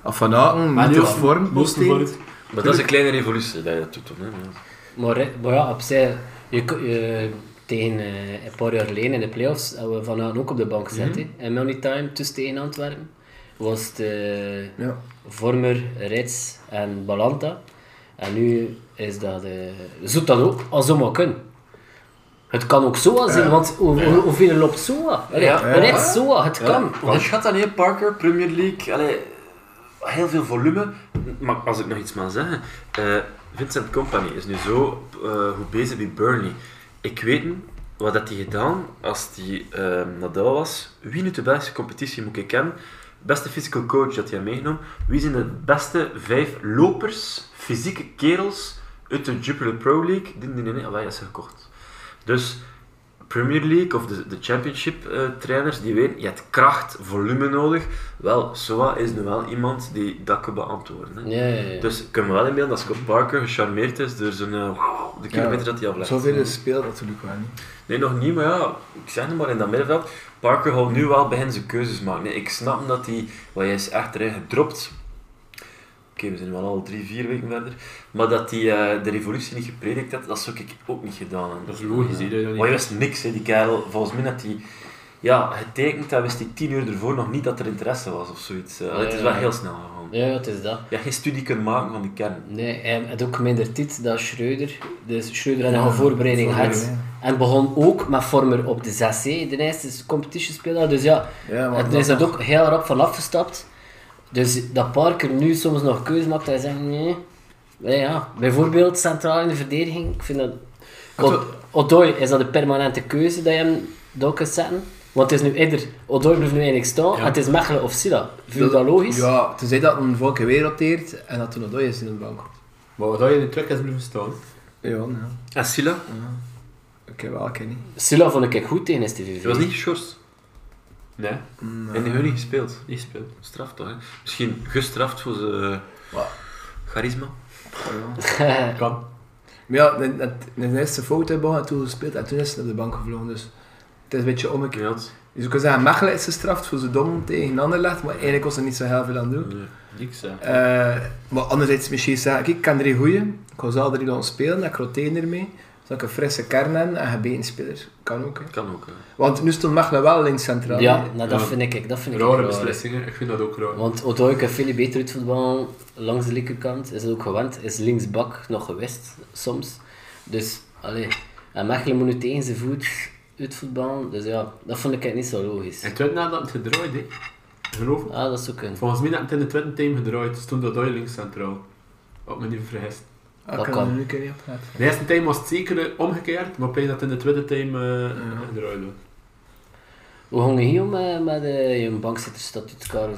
B: Of van Aken, met
D: Maar nu
B: de
D: ook-
B: vorm
D: Moesten
B: posteert.
D: voor het-
C: Maar dat is een kleine revolutie dat je dat doet, hoor, hè. ja.
A: Maar, re- maar ja, opzij, je, ko- je- tegen eh, een paar jaar geleden in de playoffs hadden we Van Aken ook op de bank zetten. En Money Time, tussen tegen Antwerpen, was het eh,
B: Ja.
A: Vormer, Rits en Balanta. En nu is dat... eh, je zult dat ook als zomaar kunnen. Het kan ook zo wel zijn, want hoe- hoe- hoeveel loopt zo wat? Allee,
C: Ja.
A: Rits zo wat, het kan.
C: Want het gaat dan heel Parker, Premier League, allee, heel veel volume. Maar als ik nog iets mag zeggen, eh, Vincent Company is nu zo eh goed bezig bij Burnley. Ik weet niet wat dat hij gedaan als hij eh, Nadal was. Wie nu de beste competitie moet ik kennen? Beste physical coach dat hij meegenomen. Wie zijn de beste vijf lopers, fysieke kerels uit de Jupiler Pro League? Die, die, die, die, dat is gekocht. Dus Premier League of de, de Championship eh, trainers die weten, je hebt kracht, volume nodig. Wel, Soa is nu wel iemand die dat kan beantwoorden. Hè.
A: Ja, ja, ja.
C: Dus ik kan me wel inbeelden dat Scott Parker gecharmeerd is door zijn, eh, de kilometer dat hij aflegt.
B: Zoveel is speelt natuurlijk wel niet.
C: Nee, nog niet, maar ja, ik zeg het maar in dat middenveld. Parker gaat nu wel beginnen zijn keuzes maken. Nee, ik snap dat hij, wat hij is echt erin gedropt. Oké, we zijn wel al drie, vier weken verder. Maar dat hij eh, de revolutie niet gepredikt had, dat zou ik ook niet gedaan hebben. Eh,
D: Dat is logisch, hè, dat je dat niet-
C: Maar hij wist niks, hè, die kerel. Volgens mij had hij ja, getekend, dat wist hij tien uur ervoor nog niet dat er interesse was of zoiets. Eh,
A: Ja,
C: het is
A: ja,
C: wel
A: ja.
C: heel snel gegaan.
A: ja, ja, het is dat.
C: Je hebt geen studie kunnen maken van die kern.
A: Nee, hij had ook minder tijd dan Schreuder. Dus Schreuder had nog een voorbereiding gehad.
B: voorbereiding,
A: En begon ook met Vormer op de 6 De eerste competition speelde. Dus ja,
B: Ja, maar
A: het is er ook heel rap van afgestapt. Dus dat Parker nu soms nog keuze maakt, hij zegt nee. Nee, ja. Bijvoorbeeld centraal in de verdediging. Ik vind dat... Want Odoi, is dat een permanente keuze dat je hem daar kunt zetten? Want het is nu eerder... Odoi blijft nu eigenlijk staan. En het is Mechelen of Silla. Vind je dat logisch?
B: Ja, tenzij dat een volk weer roteert en dat toen nog is in de bank.
D: Maar wat had je in de twee keer blijven staan?
B: Ja, ja.
C: En Silla?
B: Ik heb wel, ik ken niet.
A: Silla vond ik goed tegen STVV.
C: Die was niet geschorst.
D: Nee,
C: En die heeft niet gespeeld.
D: niet speelt.
C: Straf toch, hè? Misschien gestraft voor zijn eh,
B: Wat?
C: charisma.
D: Kan.
B: Maar ja, de, de, de eerste fout hebben we toen gespeeld en toen is ze op de bank gevlogen. Dus het is een beetje omgekeerd.
C: Ja,
B: Dus ik kan zeggen, Mechelen is gestraft voor zijn dom tegen Anderlecht, maar eigenlijk was er niet zo heel veel aan doen.
D: Niks, hè.
B: Eh, maar anderzijds misschien zeggen, kijk, ik kan drie goeie, ik ga zelf drie dan spelen, ik roteer ermee. Zodat ik een frisse kern heb en een gebeten speler. Kan ook, hè.
C: kan ook.
B: Want nu stond Mechelen wel links centraal.
A: Ja,
B: hè.
A: nou, dat
D: Ja.
A: vind ik. Dat vind ik
D: Rare
A: raar.
D: beslissingen, ik vind dat ook raar.
A: Want Odoi kan veel beter uit voetbal langs de linkerkant. Is het ook gewend. Is linksbak nog geweest soms. Dus, allee. En Mechelen moet nu tegen zijn voet uit voetbal. Dus ja, dat vond ik eigenlijk niet zo logisch.
D: En toen had het gedraaid, hè. Geloof me.
A: Ah, dat zou kunnen.
D: Volgens mij had het in de tweede team gedraaid, dus toen dat hij links centraal. Op me niet vergist.
B: Ah,
A: dat
B: ik kan
A: kan.
B: er nu een keer niet op praten.
D: De eerste team was het zeker eh, omgekeerd, maar pleeg dat in de tweede team eh
B: Ja.
D: gedraaid wordt.
A: Hoe ging je hier om eh, met eh, je bankzitterstatuut, Karel?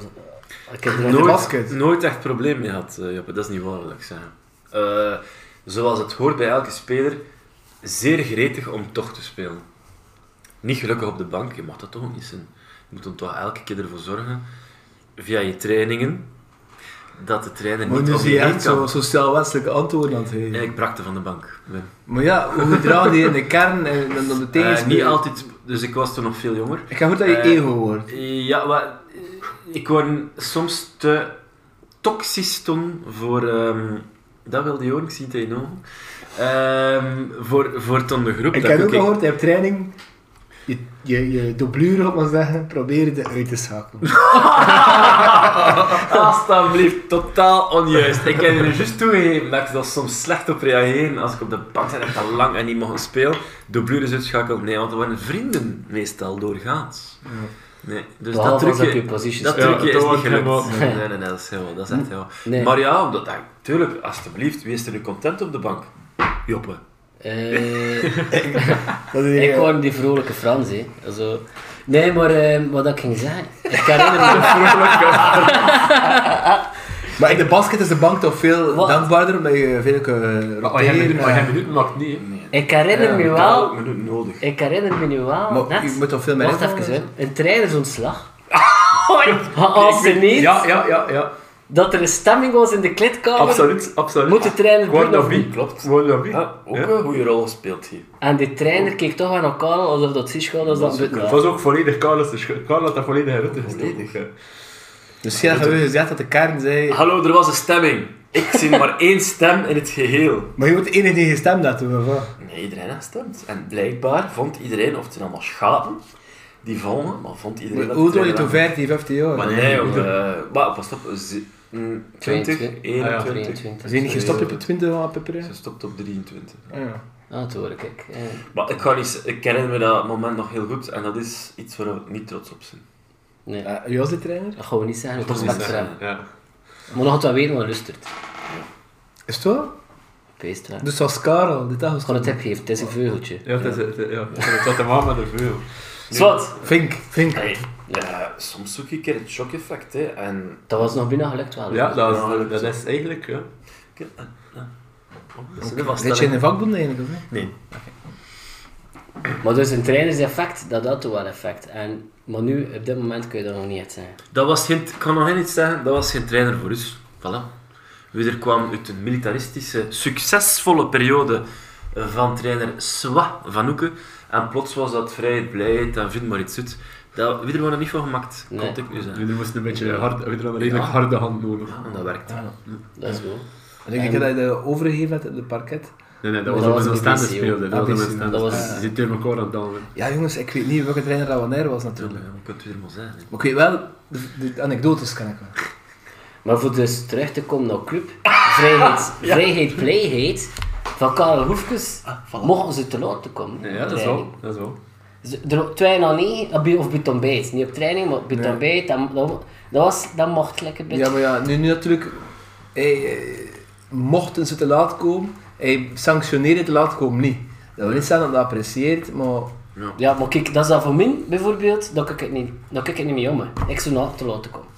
A: Ik heb er
B: Nooit.
A: nog-
B: basket.
C: nooit echt probleem mee gehad, eh, Joppe. Dat is niet waar, wil ik zeggen. Eh, zoals het hoort bij elke speler, zeer gretig om toch te spelen. Niet gelukkig op de bank, je mag dat toch ook niet zijn. Je moet dan toch elke keer ervoor zorgen, via je trainingen, dat de trainer
B: Maar
C: niet
B: nu
C: op
B: zie
C: je
B: je
C: heen
B: echt zo,
C: kan.
B: zo stelwestelijke antwoorden aan het geven.
C: Ja, ik brakte van de bank. Wim.
B: Maar ja, hoe gedraag je in de kern en dan op de
C: Eh,
B: tegenspeler?
C: niet altijd, dus ik was toen nog veel jonger.
B: Ik ga goed dat je
C: Eh,
B: ego wordt.
C: Ja, maar eh, ik word soms te toxisch toen voor... ehm, dat wilde je horen, ik zie het in je ogen. Ehm, voor, voor toen de groep.
B: Ik
C: dat
B: heb ook
C: ik-
B: gehoord, je hebt training. Je, je, je dublure, op maar zeggen, probeer je uit te schakelen.
C: Alsjeblieft, totaal onjuist. Ik heb er juist toegegeven dat ik daar soms slecht op reageer. Als ik op de bank zit en te lang en niet mocht spelen, dublures uitschakelen. Nee, want er waren vrienden meestal doorgaans. Nee, dus dat
A: Behalve als dat je
C: trucje,
A: position
C: dat
A: speelt.
D: Ja,
C: trucje
D: dat
C: is niet
D: wordt helemaal-
C: gelukt. Nee, nee, nee, dat is heel, dat is echt heel.
A: Nee.
C: Maar ja, omdat, tuurlijk, alsjeblieft, wees er nu content op de bank. Joppe,
A: Eh,
B: Dat is
A: ik hoor die vrolijke Frans, hè. Zo. Nee, maar eh, wat ik ging zeggen... Ik herinner me...
B: Maar in de basket is de bank toch veel
A: Wat?
B: dankbaarder, omdat je veel uh,
D: Maar hij minuten,
B: roteert.
D: maar hij
B: eh,
D: minuten maakt niet. hè.
A: Ik herinner me wel...
C: minuten nodig.
A: Ik herinner me nu wel...
B: Maar
A: net,
B: je moet toch veel meer
A: wacht
B: invallen?
A: even, hè. Een trainersontslag. Oh, Als ze niet,
D: Ja, ja, ja, ja.
A: dat er een stemming was in de kleedkamer,
D: Absoluut, absoluut.
A: moet de trainer
D: Gewoon
A: doen
D: dat
A: of
D: wie?
A: niet.
D: Klopt. Gewoon dat wie?
C: Ja, ook
D: Ja.
C: een goede rol gespeeld hier.
A: En de trainer keek toch aan elkaar alsof dat zich was als dat een
D: Het was ook volledig Carlos. de Sch- Carlos had dat volledig in Rutte gestoken. Ja.
B: Dus jij had gezegd dat de kern zei...
C: Hallo, er was een stemming. Ik zie maar één stem in het geheel.
B: Maar je moet de enige die gestemd had, of wat?
C: Nee, iedereen had gestemd. En blijkbaar vond iedereen, of het zijn allemaal schapen, die vallen, maar vond iedereen dat...
B: Hoe doe je
C: iedereen
B: toen 15, 15 jaar?
C: Maar
B: Ze
C: nee, jongen. eh, Maar pas op, ze- mm, 20,
A: 22.
C: 21.
A: 23.
B: zijn niet gestopt op het 20 van
C: Ze
B: Pepper?
C: stopt op 23.
B: Ah, Ja.
A: Ah, dat hoor ik. ik. eh.
C: Maar ik, ga niet, ik herinner me dat moment nog heel goed en dat is iets waar we niet trots op zijn.
A: nee,
B: Eh, Wie was de trainer?
A: dat gaan we niet zeggen. Het
C: Dat
A: respect
C: is
A: voor
C: niet
A: hem.
C: zeggen.
D: Ja.
A: Maar nog altijd weten wat lustert.
B: Is het wel?
A: Feest, hè.
B: Dus was Karel, dit dag was
A: Gewoon het tip geven, het is een veugeltje.
D: Ja, dat is het. Ja. Het had hem aan met een veel.
C: Zwat!
B: Fink, Fink.
C: Hey, eh, ja, soms zoek je een keer het shock-effect. hè, En
A: Dat was nog binnen gelukt wel.
D: Ja, dat
C: Ja,
D: is, dat is eigenlijk... Ja.
C: Dat is een
B: Zit je in
C: vaststelling.
B: de vakbond eigenlijk, of niet?
C: Nee.
A: Maar dus een trainerseffect, dat had toch wel effect. En, maar nu, op dit moment kun je dat nog niet echt zeggen.
C: Dat was geen, ik kan nog geen iets zeggen, dat was geen trainer voor ons. Voilà. Weder kwam uit een militaristische, succesvolle periode eh, van trainer Swa van Hoeken. En plots was dat vrijheid, blijheid en vind maar iets uit. Dat, weder waren er niet van gemaakt,
A: Nee.
C: kon ik nu zeggen.
D: Jullie moesten een beetje hard, we hadden een redelijk harde hand nodig.
C: En dat werkte.
A: Dat is goed.
B: En Ah. ik denk dat je dat overgegeven hebt op de parket.
D: Nee, nee, dat
A: Dat
D: was
A: was
D: op een
A: een
D: staande
A: divisie,
D: speelde.
B: joh.
D: Dat was op een
B: Dat
D: staande
A: was-
D: speelde. Ze zit tegen elkaar aan het dansen.
B: Ja jongens, ik weet niet welke trainer dat wanneer was
C: Ja,
B: natuurlijk.
C: maar je kunt het weer maar zeggen. hè.
B: Maar ik weet wel, de, de anekdotes kan ik wel.
A: Maar voor dus terug te komen naar Club, Vrijheid, Vrijheid Playheid, van Karel Hoefkes, mochten ze te laat te komen.
D: Ah, Ja, dat is
A: Training.
D: wel. Dat is wel.
A: Ze- Er, twee na negen, eh, bij- of bij Tom Bijt. Niet op training, maar bij Tom Bijt, dat, dat, dat was, dat mocht lekker bij.
B: Ja, maar ja, nu, nu natuurlijk, hij, eh, mochten ze te laat komen, hij sanctioneerde te laat komen niet. Dat wil niet zeggen dat hij dat apprecieert, maar
A: Ja, maar kijk, dat is dat voor mij bijvoorbeeld, dat ik het niet, dat ik het niet mee om. hè. Ik zou na te laten komen.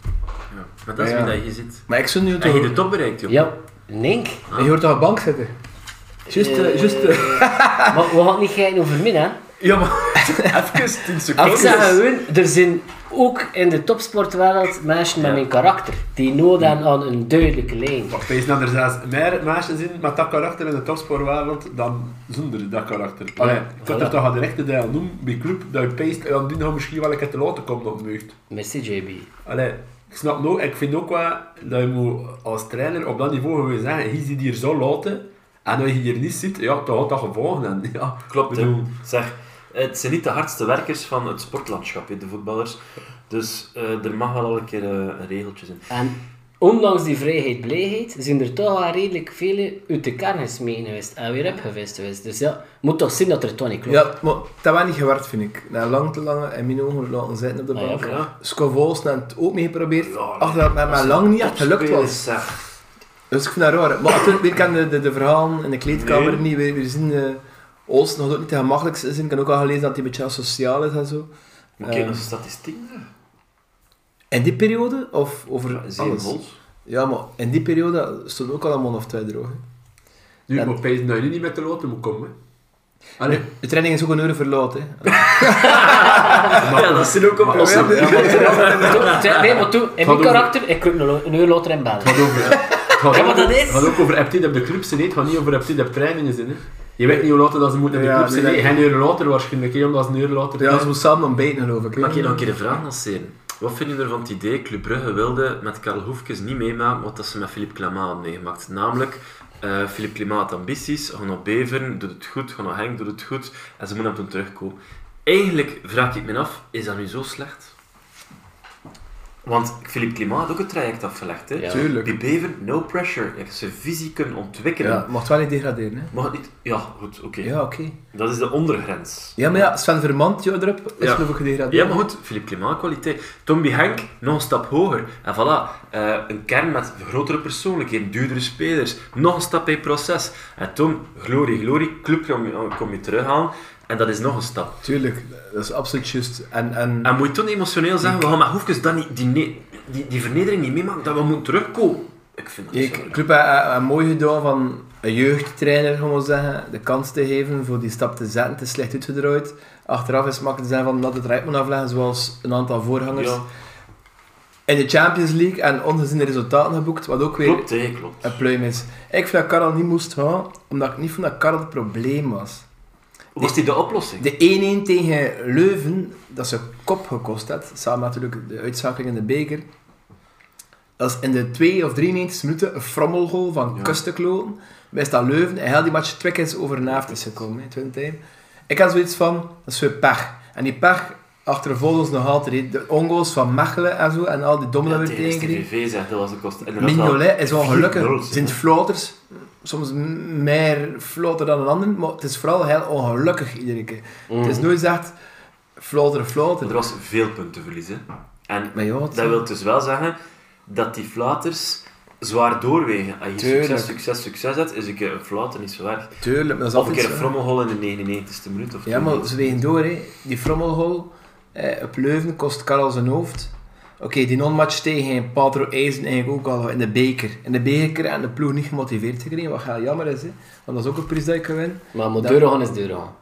C: Ja. Maar dat is
B: Ja, ja.
C: wie dat je zit.
B: Maar ik zou nu
C: En
B: toch...
C: je de top bereikt, joh.
A: Ja, Nink.
B: Je hoort toch op bank zitten? Just, eh,
A: Eh,
B: just... eh,
A: Maar we gaan niet gein over min, hè.
C: Ja, maar even 10
A: Ik
C: seconden.
A: zeg gewoon, er zijn ook in de topsportwereld mensen met een karakter die nood hebben aan een duidelijke lijn.
D: Maar er zijn er zelfs meer meisjes in met dat karakter in de topsportwereld dan zonder dat karakter. Allee, ik had
A: voilà.
D: er toch aan de rechte deel noemen bij club dat je peest en dan die nog misschien wel een keer te laten komen op meugt.
A: Mr. JB.
D: Allee, ik snap nou, ik vind ook wel dat je moet als trainer op dat niveau gewoon zeggen, hier zit hier zo laten en als je hier niet zit, ja, dan had dat gevolgen. En, ja,
C: Klopt, hè.
D: bedoel,
C: Zeg, eh, het zijn niet de hardste werkers van het sportlandschap, hè, de voetballers. Dus eh, er mag wel al een keer eh, een regeltje zijn.
A: En ondanks die vrijheid, blijheid, zijn er toch wel redelijk vele uit de kern gesmeten geweest en weer opgevist geweest. Dus ja, moet toch zien dat er toch niet klopt.
B: Ja, maar dat was niet gewerkt, vind ik. Na lang te lange en mijn ogen laten zitten op de
A: Ah, ja,
B: bank.
C: voilà.
B: Scovols had het ook mee geprobeerd,
C: Ja, nee.
B: achter dat het met mij lang niet echt gelukt was.
C: Spelers, zeg.
B: Dus ik vind dat raar. Maar natuurlijk, weer kan de, de, de verhalen in de kleedkamer
C: Nee.
B: niet. We, we zien eh Olsen nog ook niet de gemakkelijkste zijn. Ik heb ook al gelezen dat hij een beetje asociaal is en zo.
C: Maar kijk
B: Eh,
C: naar de statistieken. hè.
B: in die periode of over
C: Zeven
B: alles?
C: goals.
B: Ja, maar in die periode stond ook al een man of twee droog. hè.
D: nu
B: Ja.
D: moet pezen dat je niet met de laten moet komen. hè. Allee,
B: De training is ook een uur verlaat. Hè. Dus
C: ja, dat zit ook op
D: maar als er-
A: Toen- Nee, maar toen, in mijn
D: over-
A: karakter, ik kon een een uur later in bellen.
D: Het gaat over, het gaat
A: Ja, maar dat
D: ook-
A: is-
D: het gaat ook over aptitude op de club zijn, hè. het gaat niet over aptitude op trainingen zijn. hè. Je weet niet hoe later dat ze moeten op de
B: Ja,
D: club zijn.
B: nee,
D: hè.
B: dat-
D: Geen uur later waarschijnlijk, hè, omdat ze een uur later...
B: Ja, ze moeten samen ontbijten, geloof ik. hè.
C: Mag ik je nog een keer een vraag lanceren? Wat vind je ervan het idee, Club Brugge wilde met Karel Hoefkes niet meemaken wat dat ze met Philippe Clement hadden meegemaakt? Namelijk, eh Philippe Clement had ambities, gaan naar Beveren, doet het goed, gaan naar Henk, doet het goed, en ze moeten hem toen terugkomen. Eigenlijk vraag ik me af, is dat nu zo slecht? Want Philippe Climat had ook het traject afgelegd. Hè?
A: Ja.
B: Tuurlijk.
C: Die Beven, no pressure. Je hebt ze fysiek kunnen ontwikkelen.
B: Ja, mocht wel niet degraderen, hè?
C: Mag het niet... Ja, goed, oké.
B: Ja, oké.
C: Dat is de ondergrens.
B: Ja, maar ja, Sven Vermand, joh, erop, is
C: Ja.
B: geloof ik gedegradeerd.
C: Ja, maar goed, Philippe Clément kwaliteit. Tomby Henk, nog een stap hoger. En voilà, eh, een kern met grotere persoonlijkheden, duurdere spelers. Nog een stap in het proces. En toen, glorie, glorie, club kom je, eh, kom je terughalen. En dat is nog een stap.
B: Tuurlijk, dat is absoluut juist. En, en,
C: En moet je toen emotioneel zeggen, we gaan met Hoefkes dan niet, die, ne- die, die vernedering niet meemaken, dat we moeten terugkomen. Ik vind dat niet zo
B: ik,
C: erg.
B: club heeft eh, heeft mooi gedaan van een jeugdtrainer, gewoon maar zeggen, de kans te geven voor die stap te zetten, te slecht uitgedraaid. Achteraf is het makkelijk te zeggen van dat het rijp moet afleggen, zoals een aantal voorgangers.
C: Ja,
B: In de Champions League en ongeziene resultaten geboekt, wat ook weer
C: klopt, hè, klopt.
B: een pluim is. Ik vind dat Karel niet moest gaan, omdat ik niet vond dat Karel het probleem was.
C: Was die de oplossing?
B: De 1-1 tegen Leuven, dat ze kop gekost had, samen natuurlijk de uitschakeling in de beker. Dat is in de 2 of 93 minuten een frommelgoal van
C: Ja.
B: Kustekloten. Wij staan Leuven en heel die match twee keer over een avond is gekomen, hè, twin time. Ik had zoiets van, dat is weer pech. En die pech achtervolgt ons nog altijd. hè. De ongoals van Mechelen en zo, en al die dommen
C: Ja,
B: dat we
C: tegen
B: tegenkriegen.
C: STVV zegt, dat was de kost. En
B: Mignolet is wel gelukkig.
D: 4-0,
B: Zijn floaters, soms m- meer floater dan een ander, maar het is vooral heel ongelukkig iedere keer. Het
C: Mhm.
B: is nooit echt floater,
C: er
B: floater.
C: was veel puntenverlies. Hè. En
B: Maar ja, het-
C: Dat wil dus wel zeggen dat die flaters zwaar doorwegen. Als je
B: Tuurlijk.
C: succes, succes, succes hebt, is een keer een flater niet zo erg.
B: tuurlijk, maar dat is
C: Of een
B: altijd
C: keer een
B: zo.
C: frommelhol in de 99ste minuut. Of
B: Ja, maar
C: 92e.
B: ze wegen door, hè. Die frommelhol eh, op Leuven kost Karel zijn hoofd. Oké, die non-match tegen Patro IJzen eigenlijk ook al in de beker. In de beker en de ploeg niet gemotiveerd gekregen, wat heel jammer is, hè. Want dat is ook een prijs dat je kan winnen.
A: Maar moet
B: Dat-
A: deuren gaan is deuren gaan.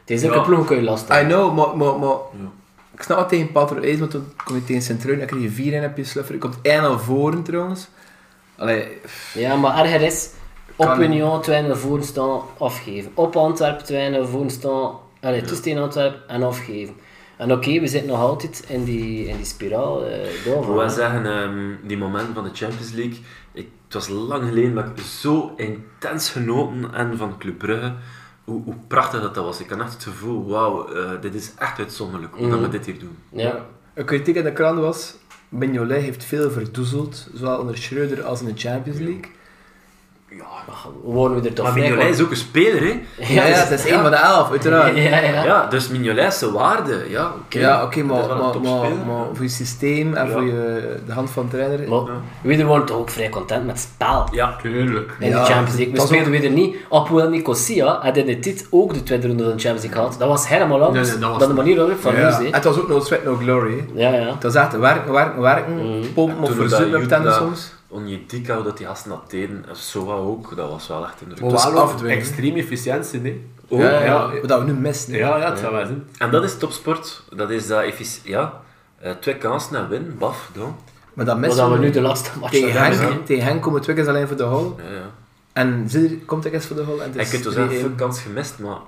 A: Het is ook
C: Ja.
A: een ploeg kun je lasten.
B: I know, maar... maar, maar
C: Ja.
B: Ik snap wat tegen Patro is, maar toen kom je tegen Centruin, dan krijg je vier in heb je sluffer. Je komt één al voren trouwens. Allee, pff,
A: Ja, maar erger is op
B: Kan-
A: Union Twijnen voorstaan afgeven. Op Antwerpen Twijnen voorstaan. Allee, toesteen Antwerpen en afgeven. En oké, we zitten nog altijd in die, in die spiraal. eh
C: Ik wil wel
A: daarvan, hè.
C: zeggen, ehm, die moment van de Champions League, ik, het was lang geleden dat ik zo intens genoten en van Club Brugge. Hoe, hoe prachtig dat, dat was. Ik had echt het gevoel, wauw, eh, dit is echt uitzonderlijk omdat
A: Mhm.
C: we dit hier doen.
A: Ja.
B: een kritiek aan de krant was, Mignolet heeft veel verdoezeld, zowel onder Schreuder als in de Champions League.
C: Ja,
A: Wonen we er toch
C: maar
A: vrij
C: Mignolet is ook een speler, hè?
A: kwam-
B: Ja, ja, dat is één van de elf,
A: ja,
B: uiteraard.
A: ja,
C: Ja,
A: ja.
C: dus Mignolet is zijn waarde. Ja, oké,
B: Ja, oké,
C: Dat is
B: maar,
C: wel een
B: maar, maar,
C: topspeler.
B: maar voor je systeem en
C: Ja.
B: voor je, de hand van de trainer...
A: Maar we waren toch ook vrij content met het spel.
C: ja,
D: Tuurlijk.
A: In
B: Ja,
A: de Champions League. We
B: dat is
A: speelden weer niet. Op wel Nicosia had in de tit ook de tweede ronde van de Champions League gehad. Dat was helemaal anders
D: Nee, nee, dat was-
A: dan de manier waarop van
B: Ja.
A: ons
B: En
A: deed.
B: het was ook no sweat, no glory. hè.
A: Ja, ja.
B: Het was echt werken, werken, werken, pompen of
C: Toen we dat
B: verzoenen op
C: Utah-
B: tennis soms.
C: Onyedika, hoe dat die gasten dat deden, en Soa ook, dat was wel echt indrukwekkend.
B: was
D: Waarom?
B: afdwingen.
D: Extreem efficiëntie, nee.
C: Oh,
B: ja,
D: ja.
B: ja, wat dat we nu missen. hè.
D: Ja, ja, het zou wel zijn.
C: En dat is topsport, dat is dat effici- ja, eh, twee kansen naar win, baf, dan.
B: Maar dat
A: Maar
B: missen
A: dat we nu de laatste match
B: Tegen
A: nog hebben.
B: Henk, tegen Henk komen twee keer alleen voor de hall.
C: Ja, ja.
B: En Zidder komt ik eens voor de hall. En het
C: En je
B: is
C: kunt dus
B: 3-1.
C: echt veel kans gemist, maar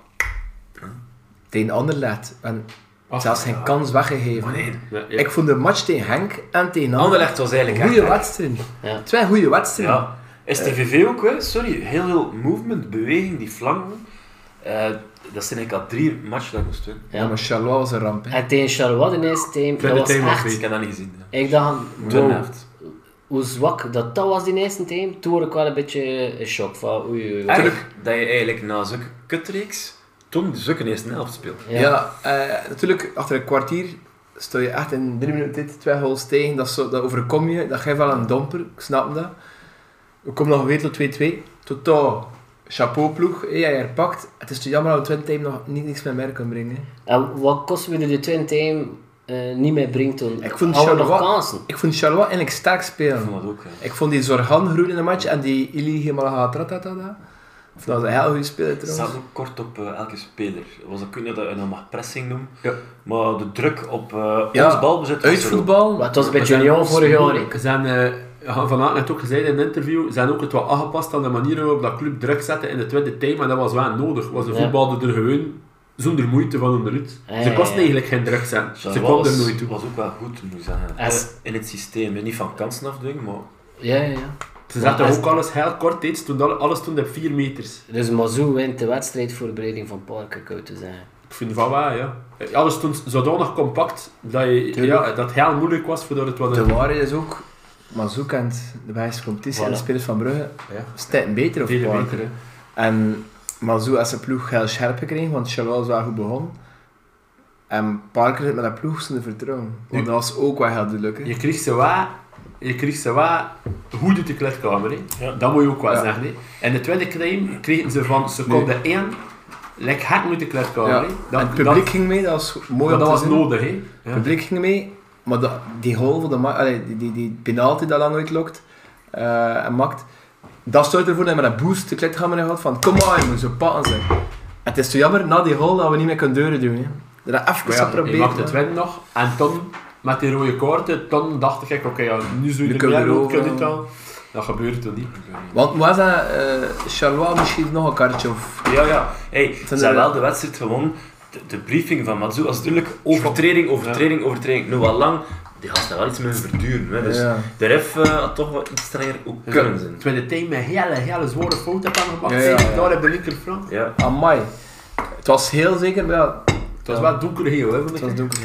B: Tegen Anderlecht. En
D: Ach,
B: zelfs geen kans weggegeven.
D: Ja, ja.
B: Ik vond de match tegen Henk en tegen Anderlecht.
C: Anderlecht was eigenlijk
B: Goeie
C: echt...
B: wedstrijd.
A: Ja.
B: Twee goede wedstrijden.
C: Ja. Eh, STVV ook, hè. sorry, heel veel movement, beweging, die flanken. Eh, dat zijn eigenlijk al drie matchen dat ik moest winnen.
B: Ja, maar Charlois was een ramp. hè.
A: En tegen Charlois de eerste team, dat
D: Tweede
A: was
D: team was
A: echt...
C: Ik heb dat niet gezien. Ja.
A: Ik dacht,
C: Tweede
A: wow,
C: helft.
A: hoe zwak dat dat was die eerste team. Toen word ik wel een beetje in shock van oei oei, oei.
C: Eigenlijk dat je eigenlijk na zulke kutreeks, toen zulke eerste helft speelt.
B: Ja, eh, natuurlijk, achter een kwartier sta je echt in drie minuten dit, twee goals tegen. Dat, is zo, dat overkom je, dat geeft wel een domper, ik snap dat. We komen nog weer tot 2-2. Totaal, chapeau ploeg, hé, hij herpakt. Het is te jammer dat we twin time nog niet, niks meer merken kunnen brengen. hè.
A: En wat kost me de tweede team eh, niet meer brengt toen?
B: Ik vond
A: Hadden we nog
B: Charleroi-
A: kansen.
B: Ik vond Charlois eigenlijk sterk
C: Ik
B: spelen.
C: vond dat ook. hè.
B: Ik vond die Zorgan groen in de match en die Ili Himalagatratatata. Ik vond dat een heel goede speler
C: Het
B: trouwens.
C: staat ook kort op eh, elke speler. Was dat, kun je dat, dat mag pressing noemen.
B: Ja.
C: Maar de druk op eh
B: Ja,
C: ons balbezit was er ook.
B: Uitvoetbal.
A: Maar het was een beetje
D: zijn
A: Union vorig jaar. hè.
D: Ze zijn, eh, Han Van Aert net ook gezegd in een interview, ze zijn ook het wat aangepast aan de manier waarop dat club druk zette in de tweede time. En dat was wel nodig. Was de
A: Ja.
D: voetbalder er gewoon zonder moeite van onderuit.
A: Ja,
D: ze
A: ja,
D: kosten
A: ja.
D: eigenlijk geen druk zetten.
C: Charleroi
D: ze kwam er
C: was-
D: nooit toe.
C: was ook wel goed, moet ik zeggen.
A: Als-
C: Eh, In het systeem. hè. Niet van kansen afdwingen, maar...
A: Ja, ja, ja.
D: Ze zetten
A: als-
D: ook alles heel kort deed, ze doen alle- alles toen op 4 meters.
A: Dus Mazou wint de wedstrijdvoorbereiding van Parker, zou ik te zeggen.
D: Ik vind van waar, ja. Alles stond zodanig compact dat, je,
B: Tuurlijk.
D: ja, dat het heel moeilijk was voordat het wat...
B: De waarheid is ook, Mazouk en de Belgische competitie en de
D: Voilà.
B: spelers van Brugge
E: Ja.
B: stijten beter op
D: Vele
B: Parker.
D: meter, hè.
B: En Mazou als zijn ploeg heel scherp gekregen, want Charlotte was wel goed begonnen. En Parker zit met dat ploeg zonder vertrouwen. Want dat was ook wel heel duidelijk. hè.
D: Je kreeg ze wat, je kreeg ze wat goed uit de kleedkamer. Hè.
C: Ja.
D: Dat moet je ook wel
B: Ja.
D: zeggen. Hè. En de tweede claim kregen ze van seconde 1 lekker hard uit de kleedkamer.
B: Ja.
D: hè.
B: en het publiek ging mee, dat was mooi
D: dat,
B: om
D: dat
B: te
D: was
B: zien.
D: nodig. Hè. Ja.
B: Het publiek ging mee, maar dat- die goal van de ma- allee, die, die, die penalty dat lang uitlokt eh, en maakt, dat zorgt ervoor dat je met dat boost de kleedkamer houdt van come on, je moet zo pakken ze. En het is zo jammer, na die goal, dat we niet meer kunnen deuren doen. Hè. Dat dat even
D: Maar
B: zou
D: ja, je
B: proberen.
D: mag het
B: hè.
D: winnen nog. En toen, met die rode kaarten, toen dacht ik, oké, ja, nu zul je
B: Nu
D: er
B: kunnen we
D: meer
B: er
D: rood kunnen
B: overal.
D: doen. Dat gebeurt er niet.
B: Want was dat eh, Charlois misschien nog een kaartje of...
C: Ja, ja. Hey, ze
B: de-
C: hebben wel de wedstrijd gewoon. De, de briefing van Matsu was duidelijk overtreding, overtreding, overtreding. Nu al lang, die gast daar wel iets mee verduren. Hè. Dus
B: Ja.
C: de ref eh, had toch wel iets strenger ook kunnen zijn.
D: Tweede team met hele, hele zware fouten hebben gemaakt.
B: Ja, ja, ja.
D: Daar heb de linkerfront.
C: Ja.
B: Amai. Het was heel zeker, maar ja,
D: Het was
B: Ja.
D: wel donkergeel, hè, vond ik.
B: het was donker.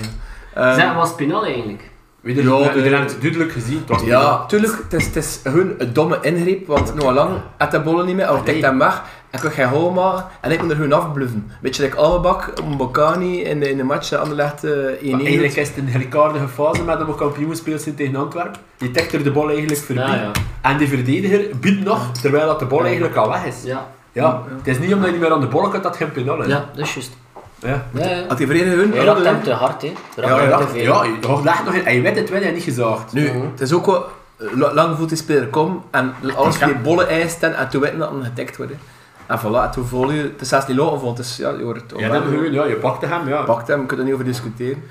B: ja.
A: Zeg,
B: Ehm,
A: was Pinal eigenlijk?
D: Wie er-
B: Ja,
D: wie-
B: eh,
D: Iedereen heeft het duidelijk gezien. Het was
B: ja, tuurlijk, het is, het is hun een domme ingreep, want Noah Lang had de bollen niet meer, of tikt hem weg, en kon geen goal maken, en ik moet er hun afbluffen. Beetje like Almebak, Mbokani in de, in de match, de Anderlecht eh, 1-1.
D: Maar eigenlijk is het een gelijkaardige fase met hem kampioen speelt zijn tegen Antwerpen. Die tikt er de bal eigenlijk voorbij.
A: Ja, ja.
D: En die verdediger biedt nog, terwijl dat de bal eigenlijk al weg is. Ja.
A: Ja,
D: Het is niet omdat je niet meer aan de bal kan dat het geen penal is.
A: ja dat is juist.
D: Ja.
A: Ja, ja.
B: Had die verdediging hun
A: Hij raakt hem te hard, hè. Hij raakt
D: Ja,
A: hem
D: je
A: te
D: dacht,
A: veel.
D: ja, je dacht echt nog in. Hij weet het wel, hij heeft niet gezaagd.
B: Nu, het is ook wel... eh, La- Lang voelt die speler kom, en alles voor die bollen eist en toen weten dat hem getikt wordt. hè. En voilà, en toen volg je... Het is zelfs niet lopen, want het is... Ja, je hoort het
D: Ja, dat gewoon, ja, je pakte hem, ja.
B: pakt hem, we kunnen er niet over discussiëren.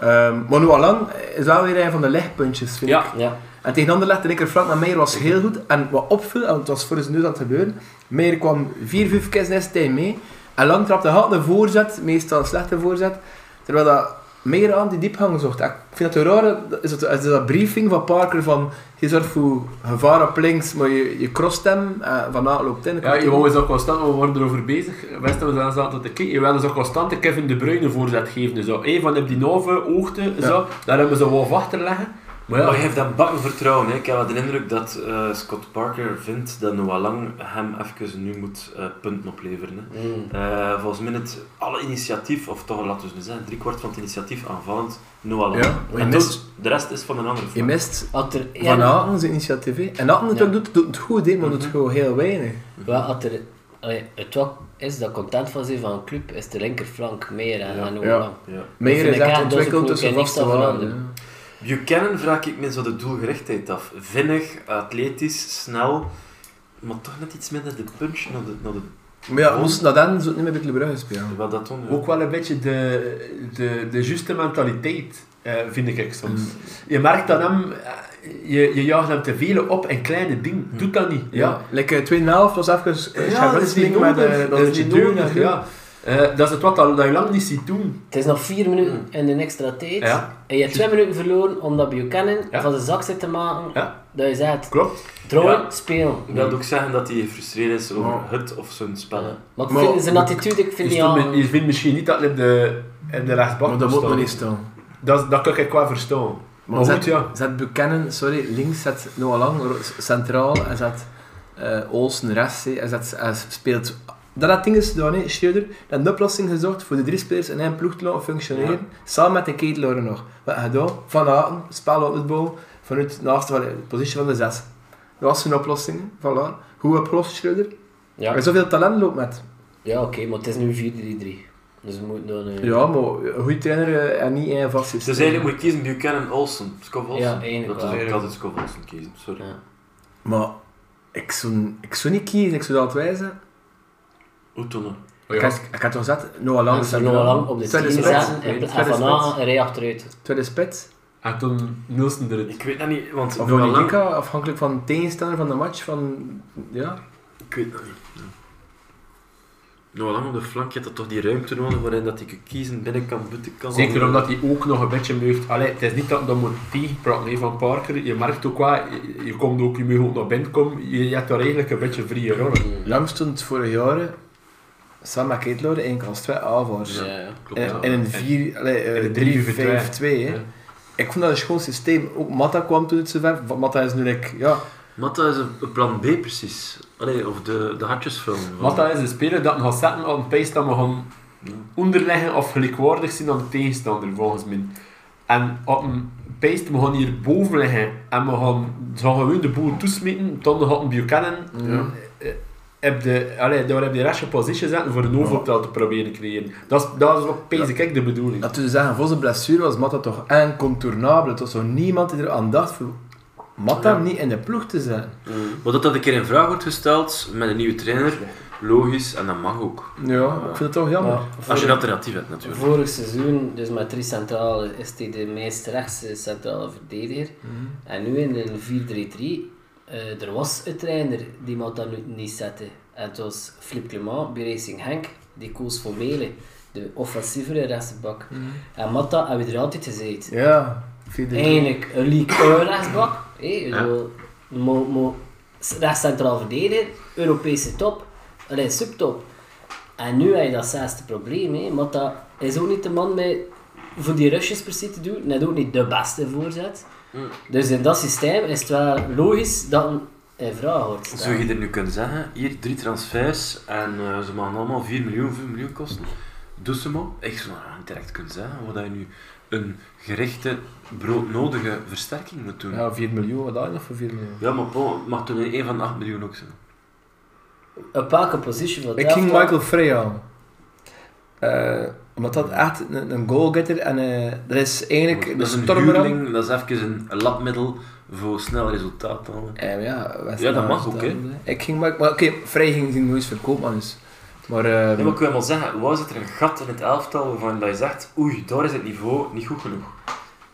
B: Ehm maar Noah Lang is wel weer een van de lichtpuntjes, vind ik.
D: Ja.
A: Ja.
B: En tegen Anderlecht, de Rikker Frank naar Meijer was heel goed. En wat opviel, en het was voor zijn neus aan het gebeuren, Meijer kwam vier, vijf keer zijn tijd mee. En Lang trapte had een voorzet, meestal een slechte voorzet. Terwijl dat Meijer aan die diepgang zocht. En Ik vind dat raar, is dat, is dat briefing van Parker van je zorgt voor gevaar op links, maar je, je crost hem en vanaf loopt in.
D: Ja, je wou eens ook constant, we waren erover bezig. Westen we zaten te kijken. Je wou eens ook constant de Kevin De Bruyne voorzet geven. Zo. Hey, van op die nove oogte, zo. daar hebben ze wel wacht te leggen. Maar ja,
C: Maar hij heeft dat bakken vertrouwen. Hè. Ik heb wel de indruk dat eh, Scott Parker vindt dat Noah Lang hem even nu moet eh, punten opleveren. Hè.
A: Mm.
C: Eh, volgens mij het alle initiatief, of toch laten we nu zeggen, driekwart van het initiatief aanvallend Noah Lang.
B: Ja,
C: en
B: je
C: dus,
B: mist-
C: de rest is van een andere
B: Je
C: vrouw.
B: mist
A: Had er, ja,
B: Van Aten zijn initiatief. hè. En Aten het
A: Ja. Mhm.
B: ook doet, doet het goed, hè, maar doet gewoon heel weinig.
A: wel, had er, allee, het wat is dat content van zijn van een club, is de linkerflank meer en, en hoe
B: Ja.
A: lang.
C: Ja.
B: Meijer
A: vind
B: is
A: ik
B: echt
A: aan, dat is ook
B: ontwikkeld
A: goed,
B: tussen
A: ik ken
B: vaste
A: niks daarvan
B: waarden.
A: aan,
B: hè.
C: Buchanan vraag ik me zo de doelgerichtheid af. Vinnig, atletisch, snel, maar toch net iets minder de punch naar de, naar de,
B: Maar ja, moest dat dan zou het niet meer bij Club Brugge spelen.
C: wat dat doen. ja.
D: ook wel een beetje de, de, de juiste mentaliteit, eh, vind ik ik soms.
B: Mm.
D: Je merkt dat hem, eh, je, je jaagt hem te veel op en kleine dingen. Doet dat niet. Ja.
B: Mm. Ja, like eh, tweede helft was even eh, gaan wisselen met eh, dat is
D: niet
B: nodig.
D: nodig, ja. Eh, dat is het wat dat, dat je lang niet ziet doen.
A: Het is nog vier minuten in de extra tijd.
D: Ja.
A: En je hebt twee minuten verloren omdat Buchanan
D: Ja.
A: van de zak zit te maken
D: Ja.
A: dat je zegt,
D: Klopt.
A: trouwen,
C: Ja.
A: spelen.
C: Ik wil ook zeggen dat hij gefrustreerd is over
B: Ja.
C: het of zijn spellen.
A: Maar ik
B: Maar-
A: vind zijn attitude, ik vind
D: Je,
A: die
D: stond
A: al...
D: met- je vindt misschien niet dat hij op de, in de rechtsbak
B: Maar dat moet
D: staan.
B: nog niet staan.
D: Dat, dat kan ik wel verstaan. Maar,
B: Maar
D: goed,
B: zet,
D: ja.
B: zet Buchanan, sorry, links, zet Noah Lang ro- centraal en zet eh Olsen rechts. hè, En, zet, en speelt... Dat dat ding is gedaan, hè, Schreuder. Dat een oplossing gezocht voor de drie spelers in één ploeg te laten functioneren. Samen met de ketelaar nog. Wat gedaan? Van Aten, spel uit het bal, vanuit naast van de positie van de zes. Dat was zijn oplossing. hè. Voilà. Hoe oplost Schreuder?
A: Ja,
B: En zoveel talent loopt met.
A: ja oké, maar het is nu 4-3-3. Dus we moeten dan... eh,
B: Ja, maar een goede trainer eh, en niet één vast
C: Dus
B: systeem.
C: eigenlijk moet je kiezen Buchanan Olsen. Scott Olsen.
A: Ja, eigenlijk
C: dat is
A: wel.
C: ook altijd Scott Olsen kiezen, sorry.
A: Ja.
B: Maar ik zou, ik zou niet kiezen, ik zou dat wijzen.
C: Hoe toen? dan?
B: Ik, had, ik had toch gezegd, Noah Lang
A: En ze nog lang op de
B: Tweede
A: 10
B: spits.
A: zetten en, en
B: Tweede
A: Van Aanen
B: spits.
A: een rij achteruit.
B: Tweede spits.
D: En toen Nielsen eruit.
C: Ik weet dat niet, want
B: Of
C: Noah Lang...
B: Monika, afhankelijk van de tegenstander van de match. Van, ja.
C: Ik weet dat niet. Ja. Noah Lang op de flank, je hebt dat toch die ruimte nodig waarin dat ik kiezen binnenkant, buitenkant...
D: Zeker omdat hij ook nog een beetje meugt. Allee, het is niet dat dat moet tegenpraten hè, van Parker. Je merkt ook wel, je, je komt ook, je moet ook naar binnen komen. Je, je hebt daar eigenlijk een beetje vrije rollen.
B: Lang stond vorig jaar Sam McKeetloode eigenlijk als twee aanvallers.
A: Ja, ja.
C: Klopt.
B: En,
C: ja.
B: en een 4,
D: en
B: allee, eh,
D: een
B: 3,
D: 3-5-2,
B: 5, 2.
D: ja.
B: Ik vond dat een schoon systeem. Ook Matta kwam toen het zo ver. Van Matta is nu like, ja,
C: Matta is een een plan B precies. Allee, of de, de hartjesfilm. van-
D: Matta is een speler dat me gaat zetten op een pace dat me gaan onderleggen of gelijkwaardig zijn aan de tegenstander, volgens mij. En op een pace dat me gaan hier boven liggen en we gaan, ze gaan gewoon de boel toesmeten, dan gaat een Buchanan
B: Ja.
D: eh, heb de, allee, daar heb je de restje positie zetten voor een overtal te proberen creëren. Dat is, dat is wat pace ik de bedoeling.
B: dat te zeggen, voor zijn blessure was Matta toch incontournabel. Het was zo niemand die er aan dacht voor Matta
C: Ja.
B: niet in de ploeg te zijn.
C: Maar dat dat een keer in vraag wordt gesteld met een nieuwe trainer, logisch, en dat mag ook.
B: Ja, ik vind het toch jammer.
A: Maar
C: Als je een
A: vorig-
C: alternatief hebt natuurlijk.
A: Vorig seizoen, dus met drie centrale, is hij de meest rechtse centrale verdediger. En nu in een 4-3-3, eh, er was een trainer die mocht dat nu niet zetten. En het was Flip Clement bij Racing Henk, die koos voor Mele, de offensievere rechtsbak. En Matta hebben we er altijd gezeten.
B: Ja, 4
A: Eindelijk een league een rechtsbak. Hey,
C: Ja.
A: zo, mo, mo, rechts centraal verdediger, Europese top, allee, subtop. En nu heb je dat zesde probleem, hè, want dat is ook niet de man met voor die rushes precies te doen, net ook niet de beste voorzet. Dus in dat systeem is het wel logisch dat een in vraag wordt staan.
C: Zou je er nu kunnen zeggen, hier drie transfers en eh, ze mogen allemaal 4 miljoen, 5 miljoen kosten. Doe ze maar. Ik zou nou niet direct kunnen zeggen wat dat je nu een gerichte, broodnodige versterking moet doen. Ja,
B: Ja, 4 miljoen, wat had je nog voor 4 miljoen?
C: maar bon, het mag toen in één van de 8 miljoen ook zijn.
A: Een pakken position van
B: Ik ging
A: elftal.
B: Michael Frey halen. Eh, omdat dat echt een, een goalgetter en eh, dat is eigenlijk
A: dus
B: de
C: dat is een
B: stormer. aan-
C: huurling, dat is even een een lapmiddel voor snel resultaat te halen.
B: Eh, maar ja, West
C: Ja, dat
B: Ham is
C: mag ook,
B: dan,
C: hè.
B: eh. Ik ging Michael, maar oké, Frey ging zien hoe is verkoopman is. Maar, eh,
F: Ja, maar ik wil wel zeggen, waar zit er een gat in het elftal waarvan dat je zegt, oei, daar is het niveau niet goed genoeg.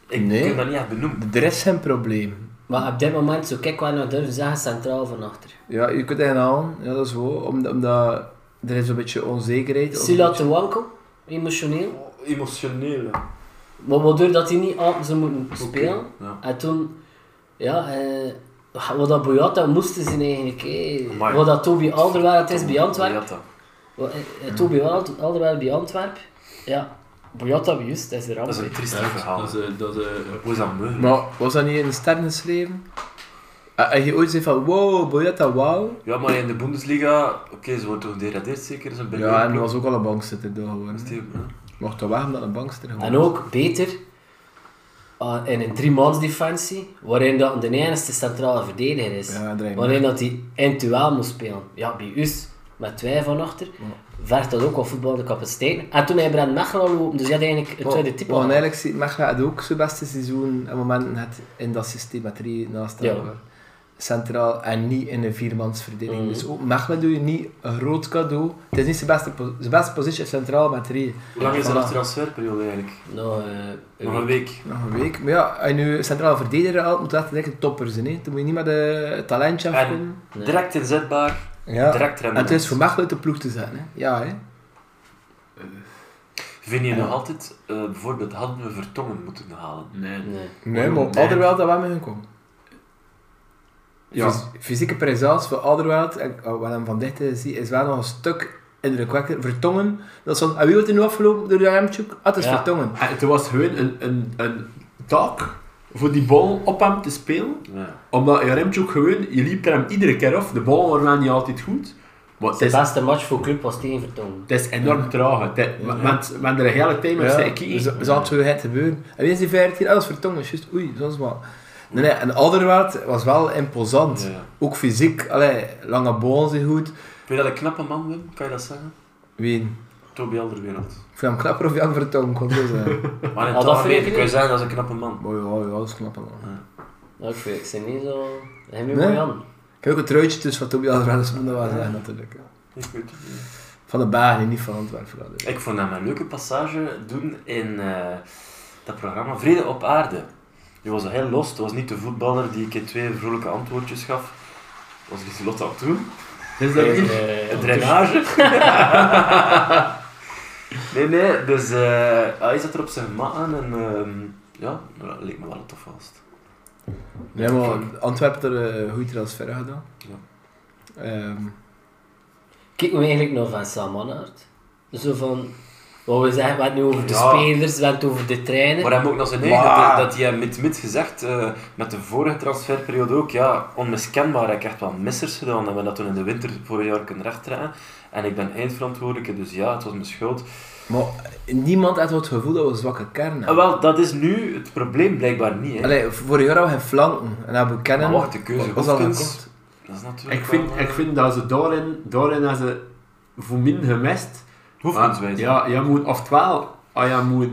F: Ik
B: Nee.
F: kan dat niet echt benoemen.
B: er is geen probleem.
A: Maar op dit moment zou ik wel nog durven zeggen centraal van achter.
B: Ja, je kunt hen halen, ja, dat is wel, omdat, omdat er is een beetje onzekerheid. of
A: Sila
B: een
A: te wankel, emotioneel.
F: Emotioneel.
A: Maar waardoor dat hij niet aan zou moeten spelen.
F: ja.
A: En toen, ja, eh, wat dat Boyata moesten zijn eigenlijk. eh.
F: Amai.
A: Wat dat Toby Alderweireld is bij Antwerpen.
F: Boyata.
A: Wat, eh, eh, Toby Ald- Alderweireld bij Antwerpen. Ja, Boyata bij Just, dat is de ramp.
F: Dat is een triestig verhaal.
D: Dat is, eh, dat is, eh,
F: Hoe is dat mogelijk?
B: beetje- Maar was dat niet in de sterren geschreven? Eh, Heb je ooit gezegd van, wow, Boyata, wauw?
F: Ja, maar in de Bundesliga, oké, ze wordt toch geradeerd zeker, zo'n beetje.
B: Ja, en er was ook al een bankzitter daar geworden.
F: Steven, hè.
B: Mocht dat weg omdat een bankster gewoon.
A: En ook beter ah, in een drie-mans defensie, waarin dat de enige centrale verdediger is.
B: Ja, draai maar.
A: waarin dat hij in het duel moest spelen. Ja, bij Us met twee van achter, vergt dat ook al voetballende capaciteiten. En toen hij Brand Mechelen lopen, dus je had eigenlijk het
B: Maar-
A: tweede type
B: maar
A: al.
B: eigenlijk ziet Mechelen had ook zijn beste seizoen en momenten het in dat systeem met drie naast
A: Ja.
B: elkaar. Centraal en niet in een viermans verdediging.
A: Mhm.
B: Dus ook Mechelen doe je niet een groot cadeau. Het is niet zijn beste, po- zijn beste positie is centraal met drie.
F: Hoe lang is
B: Voilà.
F: dat de transferperiode eigenlijk?
A: Nou, eh,
F: Nog een week.
B: Nog een week. Maar ja, en nu centraal verdediger haalt, moet dat echt een topper zijn. Hè. Toen moet je niet met de talentje
F: En-
B: afkomen.
A: nee.
F: Direct inzetbaar,
B: Ja.
F: direct
B: En
F: rendement.
B: het is voor Mechelen uit de ploeg te zijn. Hè. Ja, hè.
F: Vind je nog altijd, eh, bijvoorbeeld, hadden we Vertongen moeten halen?
D: nee.
A: Nee.
B: Nee, maar
D: Nee.
B: Alderweireld, dat waren we gekomen.
D: Ja. Dus,
B: Fys- fysieke presence van Alderweireld, en eh, wat hem van dichtbij zie, is wel nog een stuk indrukwekkend. Vertongen, dat is van, en wie wordt er nu afgelopen door de Remchuk? Ah, het is
A: Ja.
B: Vertongen.
D: En eh, Het was gewoon een, een, een taak voor die bal op hem te spelen.
F: Ja.
D: Omdat Jaremchuk gewoon, je liep er hem iedere keer af. De ballen waren niet altijd goed. Maar het
A: Zijn
D: is,
A: beste match voor club was tegen Vertongen.
D: het is enorm traag. Het, is- we- we hebben- we hebben er een hele tijd mee
B: Ja,
D: zitten
B: dus
D: kijken.
B: dat zal het zo het gebeuren. En wie is die 15? Ah, dat is Vertongen, juist. Oei, dat is wat. Nee, nee, en Alderweireld was wel imposant.
F: Ja.
B: Ook fysiek, allee, lange bonen zijn goed.
F: Vind je dat een knappe man, Wim? Kan je dat zeggen?
B: Wie?
F: Toby Alderwereld.
B: Ik vind hem knapper of Jan Vertongen, komt dus. eh.
F: Maar in
A: dat
F: het
A: vind
F: algemeen
A: ik
F: kun je
A: niet.
F: zeggen dat is een knappe man.
B: Maar ja, ja, dat is knapper man.
A: Nou, ik weet ik ben niet zo... Hij moet
B: Nee.
A: mooi aan.
B: Ik heb ook een truitje tussen wat Tobias Alderweireld moet dat wel zeggen, natuurlijk.
F: Ik weet het niet.
B: Van de Bagen, niet van Antwerpen. vooral, dus.
F: Ik vond hem een leuke passage doen in eh, dat programma Vrede op Aarde. Die was heel los. Het was niet de voetballer die een keer twee vrolijke antwoordjes gaf. Dat was Lieselotte aan toe.
D: Het
A: Dus,
D: is Dus dat hier-
A: eh,
F: Een drainage. nee, nee, dus eh, hij zat er op zijn mat aan en ehm, ja, dat leek me wel tof vast.
B: Nee, eh, maar Antwerpen had er een goede transfer aan gedaan.
F: Ja.
B: Ehm,
A: Ik Kijk me eigenlijk nog van Sam Mannaert. Zo van, wat we zeggen, we hebben het nu over de
F: Ja.
A: spelers, we hebben het over de trainer.
F: Maar hij moet ook nog zijn eigen, dat, dat hij mid-mid gezegd, eh, met de vorige transferperiode ook, ja, onmiskenbaar. Ik heb echt wel missers gedaan en we hebben dat toen in de winter vorig jaar kunnen rechttrekken. En ik ben eindverantwoordelijke, dus ja, het was mijn schuld.
B: Maar niemand had het gevoel dat we een zwakke kern hebben.
C: Ah,
F: En Ah, wel, dat is nu het probleem blijkbaar niet. Hè.
B: Allee, vorig jaar hadden we geen flanken. En hebben kennen.
F: Maar wacht, de keuze
B: was al
F: Hofkens.
B: gekocht.
F: Dat is natuurlijk
D: Ik vind,
F: wel, eh,
D: ik vind dat ze daarin, daarin hebben ze voor min gemist.
F: Hofkens wijzen.
D: Ja, je moet, oftewel, als je moet,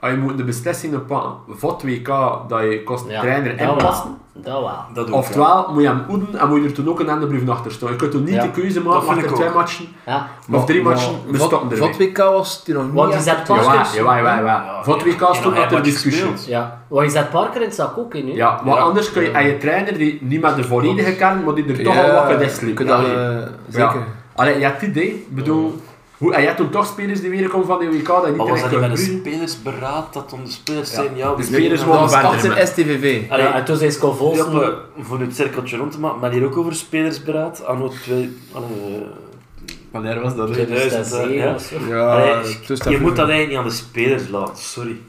D: als je moet de beslissingen pakken voor het WK dat je kost
A: Ja,
D: trainer
A: dat
D: inpassen.
A: wel, Dat wel.
F: Dat ook, ja.
D: Oftewel moet je hem oeden en moet je er toen ook een endebrief achter staan. Je kunt toen niet
A: Ja,
D: de keuze
F: dat
D: maken
F: vind
D: achter
F: ik
D: twee
F: ook.
D: matchen
A: Ja.
D: of drie
B: Maar-
D: matchen. We
B: Vot-
D: stoppen ermee.
B: Vot WK was het hier nog niet.
A: Want je
B: echt.
A: zet
D: Jawel,
A: Parkers...
D: jawel, jawel. jawel. Voor het WK
F: En
D: stond
F: nog
D: dat ter
F: een
D: discussie.
F: match
A: Ja. Want je zet Parker in het zak ook in, hè?
D: Ja, want
F: Ja.
D: anders kun je aan je trainer die niet met de volledige kern, maar die er toch al
B: Ja,
D: wat gedest
B: je
D: liep.
B: kunt dat,
D: Allee.
B: eh,
D: Ja.
B: Zeker.
D: Allee, je hebt het idee. Ik bedoel, hoe, en je hebt toen toch spelers die weer komen van de WK dat je niet
F: Maar was dat niet
D: terecht kunnen
F: met een
D: bruisen.
F: spelersberaad dat om de spelers zijn? Ja, we
D: de
F: spelen
D: spelers
F: dan-
D: worden
B: Dat
D: Van
B: was
D: Benterman.
B: in STVV.
A: Allee, en toen zijn ze
F: Ja,
A: convulsen.
F: maar voor het cirkeltje rond te maken, maar hier ook over spelersberaad. Anno twee- anno,
D: Wanneer was dat?
F: eh,
D: hè?
F: 2000. ja.
A: 2007 of zo.
B: Ja,
F: Allee,
B: dus
F: je
B: dat
F: moet
B: vroeger.
F: dat eigenlijk niet aan de spelers laten, sorry.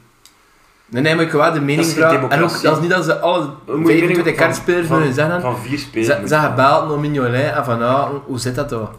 B: Nee, nee, maar ik wil wel de
F: Dat
B: mening
F: is geen
B: vragen. En ook,
F: democratie.
B: dat is niet dat ze alle
F: Moet je mening
B: 25
F: van-
B: kernspelers
F: van-
B: willen zeggen.
F: Van vier
B: Ze,
F: spelers.
B: ze gaan belden om Mignolet en van, ah, hoe zit dat toch?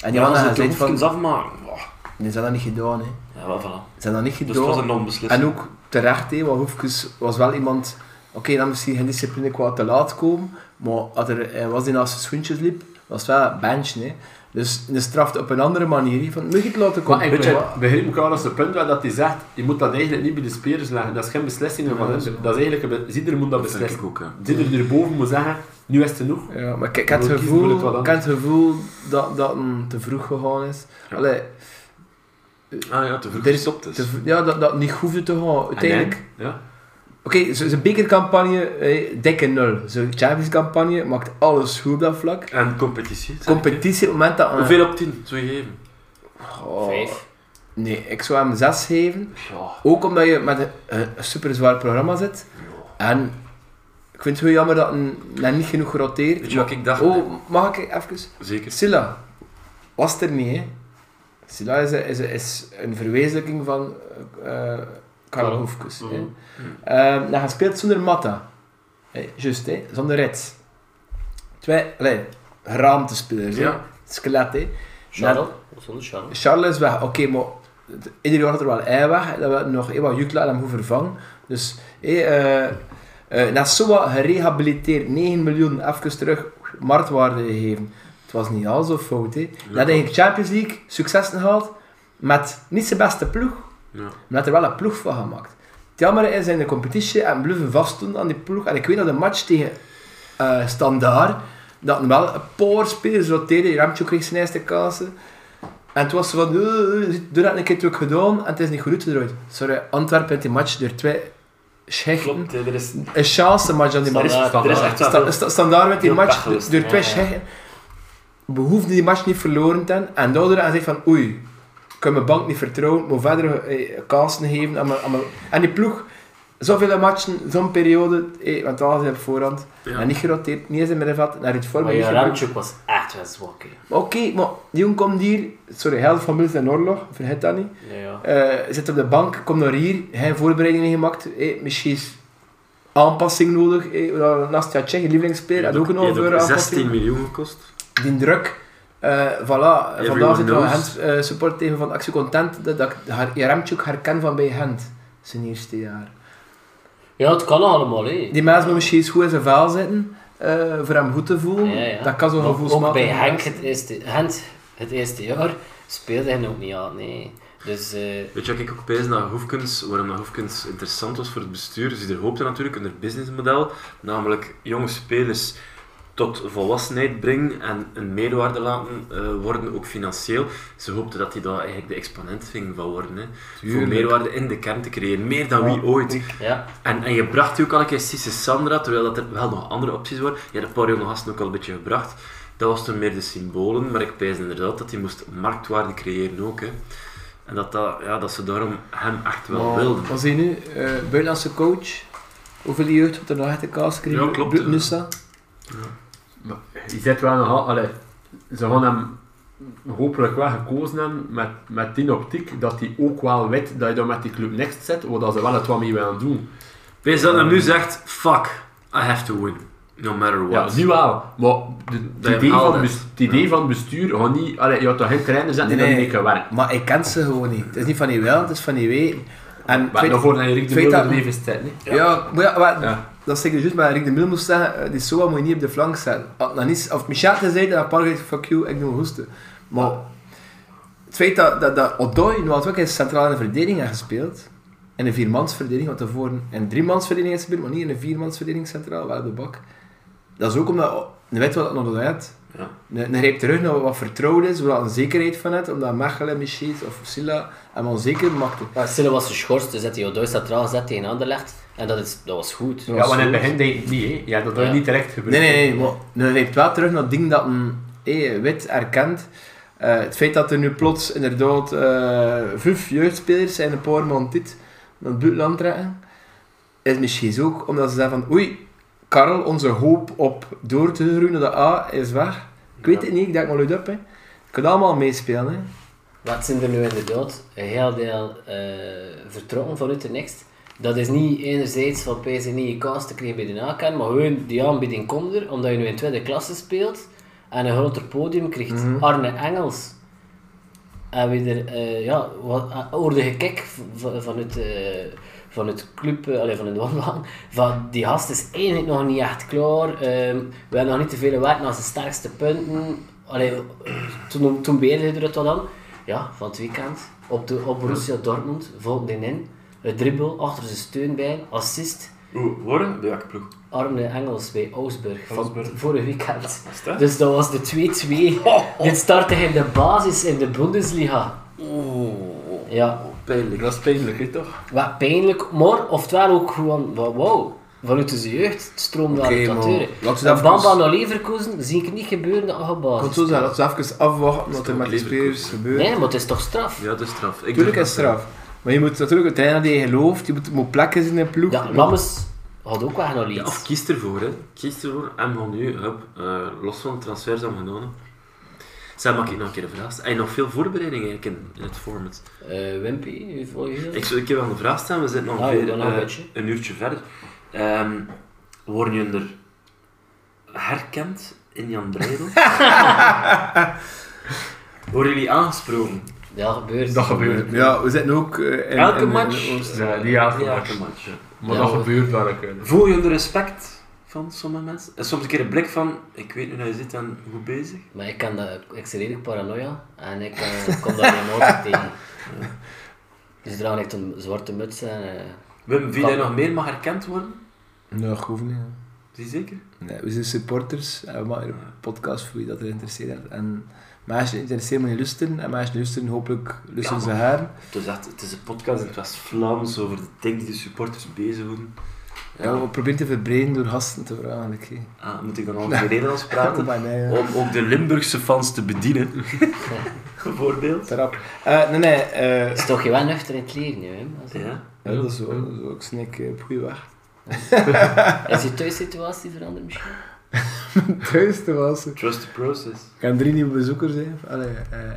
B: En die
F: Ja, als
B: mannen
F: ze
B: gaan
F: het
B: gezegd van,
F: Hofkens afmaken. oh,
B: die zijn dat niet gedaan, hè.
F: Ja, wel, voilà.
B: Ze zijn dat niet
F: Dus het was
B: gedaan.
F: een
B: en
F: onbeslissing.
B: ook terecht, hè, want Hoefkes was wel iemand... Oké, dan misschien geen discipline qua te laat komen, maar als er, hij was die naast zijn schoentjes liep, was het wel benchen, hè. Dus je straft op een andere manier, hè, van, moet je het laten komen?
D: Maar ik
B: Weet je
D: begrijp,
B: wat?
D: begrijp ik wel als het punt waar dat hij zegt, je moet dat eigenlijk niet bij de spelers leggen. Dat is geen beslissing van hem. Dat is eigenlijk, een be- Zieder moet dat
C: Dat vind ik
D: beslissen.
C: ook, hè.
D: Zieder erboven moet zeggen, nu is het genoeg.
B: Ja, maar ik, ik had het
D: Wil kiezen, moet het wel
B: gevoel, ik
D: anders.
B: had het gevoel dat, dat een te vroeg gegaan is. Allee,
C: Ah ja, te vroeg
B: Er is-
C: gestopt is.
B: te v- ja, dat, dat niet hoefde te gaan. Uiteindelijk...
D: Ja.
B: Oké, ze zijn bekercampagne, eh, dikke nul. Zijn Champions campagne maakt alles goed op dat vlak.
C: En competitie. zeg ik, hè.
B: Competitie, op het moment dat...
C: Hoeveel op 10 zou je geven?
B: Oh,
A: Vijf.
B: Nee, ik zou hem zes geven.
C: Ja.
B: Ook omdat je met een, een super zwaar programma zit. En ik vind het wel jammer dat een, dat niet genoeg geroteerd.
C: Weet je wat ik dacht?
B: Oh, mag ik even?
C: Zeker.
B: Silla was er niet, hè? Silla is, is, is een verwezenlijking van eh Karel
D: Karel.
B: Hoefkes. hè.
D: Mhm.
B: Ehm, dat gespeeld zonder Matta. Hey, juist, hè? zonder Reds. Twee allee, geraamte spelers, hè.
C: Ja.
B: skelet. Hè?
A: Charles, zonder Charles.
B: Charles is weg, oké, maar het- ieder jaar had er wel ei weg. Dat we nog eh, even Jukla hem moeten vervangen. Dus hey, eh eh Nassoa gerehabiliteerd, 9 miljoen, even terug marktwaarde gegeven. Het was niet al zo fout. Hè. Dat denk ik Champions League succes gehaald met niet zijn beste ploeg,
C: Ja.
B: maar dat er wel een ploeg van gemaakt. Het jammer is in de competitie en bluffen vastdoen aan die ploeg. En ik weet dat de match tegen eh Standaard, dat wel een paar spelers roteerden. Ramtje kreeg zijn eerste kansen. En het was zo van, "Eh, eh, doe dat een keer terug gedaan en het is niet goed eruit. Sorry, Antwerpen heeft die match door twee schechten.
F: Klopt, hè, er is,
B: Een chance match aan die
F: er
B: match.
F: is, er is echt wel
B: Sta- sta- Standaard met die
F: heel
B: match
F: pech geweest,
B: door
F: ja,
B: twee
F: ja.
B: schechten. We hoefden die match niet verloren te hebben. En daardoor aan van, oei, ik kan mijn bank niet vertrouwen, moet verder eh, kansen geven aan mijn, aan mijn- En die ploeg, zoveel matchen, zo'n periode, eh, want alles is op voorhand.
C: Ja.
B: En niet geroteerd, niet eens in middenveld, naar het vorm.
A: Maar
B: niet
A: je
B: gebracht.
A: Ramchuk was echt wel zwak, hè.
B: Maar Oké, maar die jongen komt hier, sorry, helft van Mils en Oorlog, vergeet dat niet.
A: Ja, ja.
B: Eh, zit op de bank, komt naar hier, geen voorbereidingen gemaakt, eh, misschien is aanpassing nodig. Eh, Nastja Tsjech, je lievelingsspeler, had ook een
C: Die heeft
B: half uur
C: ook 16
B: aanpassing.
C: miljoen gekost.
B: Die druk, eh voilà, vandaag zit er wel
C: knows.
B: Gent eh, support tegen van Actie Content, dat, dat ik haar, Remtjuk herken van bij Gent, zijn eerste jaar.
A: ja, het kan allemaal, hè.
B: Die mensen moeten misschien eens goed in zijn vel zitten, eh, voor hem goed te voelen,
A: Ja, ja.
B: dat kan zo'n
A: Maar Ook
B: gevoelsmatig
A: bij
B: zijn.
A: Henk het eerste, Gent het eerste jaar speelde hij ook niet aan, nee. Dus, eh,
C: Weet je wat ik ook pees naar Hoefkens, waarom dat Hoefkens interessant was voor het bestuur? Ze er hoopte natuurlijk in haar businessmodel, namelijk jonge spelers tot volwassenheid brengen en een meerwaarde laten eh, worden, ook financieel. Ze hoopte dat die daar eigenlijk de exponent ging van worden. Hè. Voor
B: Tuurlijk.
C: meerwaarde in de kern te creëren, meer dan wie ooit.
A: ja.
C: En, en je bracht die ook al een keer Sisse Sandra, terwijl dat er wel nog andere opties waren. Je hebt een paar jonge gasten ook al een beetje gebracht. Dat was toen meer de symbolen, maar ik pijs inderdaad dat hij moest marktwaarde creëren ook. Hè. En dat, dat, ja, dat ze daarom hem echt wel wilden.
B: Wat zie je nu? Eh, buitenlandse coach. Hoeveel jeugd wordt er nog uit de kaas gekregen?
C: Ja, klopt, eh.
B: Brut
C: ja.
B: Nusa.
D: Maar je zet wel nogal... Allee, ze gaan hem hopelijk wel gekozen hebben met, met die optiek dat die ook wel weet dat je dan met die club next zet, wat ze wel het wat mee willen doen.
C: Wees dat hem nu zegt, fuck, I have to win. No matter
D: Ja,
C: what.
D: nu wel, maar de-
C: Dat je
D: het idee,
C: haalt
D: van,
C: het.
D: bes- het idee van bestuur gaat niet... Allee, je had toch geen trainer zijn die
B: Nee,
D: nee,
B: nee.
D: mee kan werken.
B: Maar ik ken ze gewoon niet. Het is niet van die wel, het is van die weten. En het
D: Maar
B: feit-
D: daarvoor dat je Rick de
B: feit
D: Mulder
B: dat-
D: mee vestijd, niet?
B: Ja, maar ja, maar
D: Ja.
B: dat zeg ik juist, maar Rick de Mil moest zeggen, eh, die Soa moet je niet op de flank zetten. Had dat niet- Of Michel te zei, dan had Paul gezegd, fuck you, ik doe mijn hoesten. Maar het feit dat, dat, dat Odoi nu had ook in centraal in de verdediging had gespeeld, in een viermansverdediging, want daarvoor in een driemansverdediging had gespeeld, maar niet in een viermansverdediging centraal, wel op de bak. Dat is ook omdat, de wet wat nog had,
F: Ja.
B: een een greep terug naar wat vertrouwd is, waar een zekerheid van het, omdat Mechelen, Michiel of Silla hem onzeker maakte.
A: Maar Sille was geschorst, dus dat hij Odoi centraal gezet tegen Anderlecht. En dat, is, dat was goed.
B: Ja.
D: Ja, want in het begin deed je het niet, hè. Ja, dat had je
A: Ja.
D: niet terecht gebeurd.
B: Nee, nee, nee. Maar nu rijdt wel terug naar het ding dat een eh, wit erkent. Eh, het feit dat er nu plots inderdaad eh vijf jeugdspelers zijn een paar maanden dit naar het buitenland trekken, is misschien ook omdat ze zeggen van oei, Karel, onze hoop op door te groeien naar de A is weg. Ik weet het niet, ik denk maar luid op. Hè. Ik kan allemaal meespelen. Hè.
A: Wat zijn er nu inderdaad een heel deel eh, vertrokken vanuit de Next. Dat is niet enerzijds van PSV niet je kans te krijgen bij de naken, maar gewoon die aanbieding komt er, omdat je nu in tweede klasse speelt en een groter podium krijgt.
B: Mhm.
A: Arne Engels. En weer, eh ja, wat, eh, oordige kijk van, van het, eh, van het club, eh, allee, van het wandelhang. Van, die gast is eigenlijk nog niet echt klaar. ehm, we hebben nog niet te veel werk naar zijn sterkste punten. Allee, toen, toen beëindigde het wat dan. Ja, van het weekend. Op, de, op Borussia Dortmund, volgde die in. Een dribbel achter zijn steunbeen, assist.
F: Oeh, horen? Bij welke ploeg?
A: Arne Engels bij Augsburg van
F: Augsburg.
A: vorig weekend.
F: Is dat?
A: Dus dat was de 2-2. Dit startte in de basis in de Bundesliga.
F: Oeh,
A: Ja,
F: pijnlijk.
D: Dat is pijnlijk, hè, toch?
A: wat pijnlijk, maar oftewel ook gewoon, wa- wauw, vanuit zijn jeugd stroomde
B: Oké,
A: okay,
B: maar
A: aan de
B: laten we dat
A: En Bamba
B: even-
A: naar Leverkusen zie ik niet gebeuren dat hij op
B: Ik kan het
A: basis
B: zo zeggen,
A: speelt.
B: dat ze even afwachten wat er met die
C: Leverkusen.
B: spelers gebeurt.
A: Nee, maar het is toch straf?
C: Ja, dat is straf. Ik
B: Natuurlijk
C: doe
B: is het straf. Maar je moet natuurlijk een trainer die je gelooft, je moet, moet plekken zien in de ploeg.
A: Ja, Lammes had ook weg naar
C: Ja, of
A: Leeds.
C: kies ervoor, hè. Kies ervoor en van nu, hup, eh, los van de transfers aan genomen. Zij maak ik nog een keer een vraag. stellen? En nog veel voorbereiding eigenlijk in, in het format.
A: Eh Wimpy, volg je
C: Ik, zou- ik heb wel een vraag staan, we zitten
A: Ah,
C: ongeveer
A: ja, dan nog een
C: eh,
A: beetje.
C: een uurtje verder. Ehm worden jullie er herkend in Jan Breidel? worden jullie aangesproken?
A: Ja, gebeurt.
D: Dat gebeurt.
B: Ja, we zitten ook eh, in
C: Elke
B: in- in
C: match?
B: Oost-
D: Ja, die elke match.
C: elke match, ja.
D: Maar
A: Ja,
D: dat
A: hoor.
D: gebeurt wel een keer.
C: Voel je de respect van sommige mensen? En soms een keer een blik van, ik weet nu dat je zit en goed bezig.
A: Maar ik kan dat, ik zit redelijk paranoia en ik eh, kom daar geen auto tegen. Dus draag ik een zwarte muts en... eh,
C: Wim, vind jij
A: Kan.
C: nog meer mag herkend worden?
B: Nee, ik hoef niet. hè.
C: Zie zeker?
B: Nee, we zijn supporters. en We maken een podcast voor wie dat er interesseert. heeft. En mensen die interesseren moet je lusten. En mensen die lusten, hopelijk lusten
C: Ja,
B: ze haar.
C: Het is, echt, het is een podcast in het West-Vlaams over de dingen die de supporters bezighouden. Ja.
B: Ja, we proberen te verbreden door gasten te vragen. eigenlijk, hè.
C: Ah, moet ik dan altijd in Nederlands praten?
B: Maar nee, ja.
C: Om ook de Limburgse fans te bedienen. Bijvoorbeeld.
B: Trap. Eh, nee, nee. eh,
A: Het is toch je wel nuchter in het leren, hè? Wim? Als-
C: Ja.
B: ja, dat is wel, dat is wel. Ik snik eh, op goede weg.
A: Is je thuissituatie veranderd misschien?
B: Thuis te wassen.
C: Trust the process.
B: Ik heb drie nieuwe bezoekers, hè. Allee,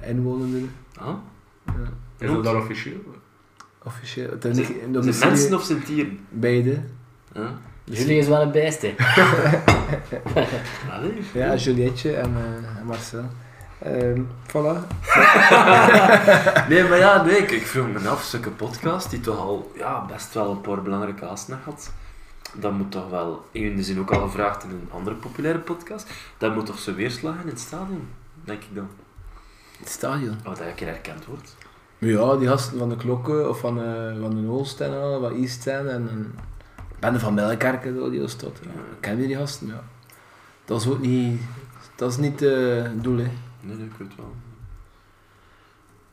B: eh, inwonenden.
C: Ah?
D: Is dat dan officieel?
B: Officieel. Het is
C: Zijn,
B: niet- dat
C: zijn
B: is
C: mensen
B: niet-
C: of zijn dieren?
B: Beide.
C: Ja.
A: Jullie is wel een bijste.
C: Allee.
B: Ja, Julietje en, eh, en Marcel. Ehm voilà.
C: Nee, maar ja, nee, ik, ik vroeg me af, zulke podcast die toch al ja, best wel een paar belangrijke gasten had, dat moet toch wel, in de zin ook al gevraagd in een andere populaire podcast, dat moet toch zo weerslagen in het stadion, denk ik dan.
B: Het stadion.
C: Oh, dat je een keer herkend wordt.
B: Ja, die gasten van de klokken of van, eh van de Holstein en al, van East End en, en Bende van Melkerken, zo, die was dat. Ja. Ken je die gasten? Ja. Dat is ook niet, dat is niet eh, het doel, hè.
C: Nee, nee, ik weet het wel.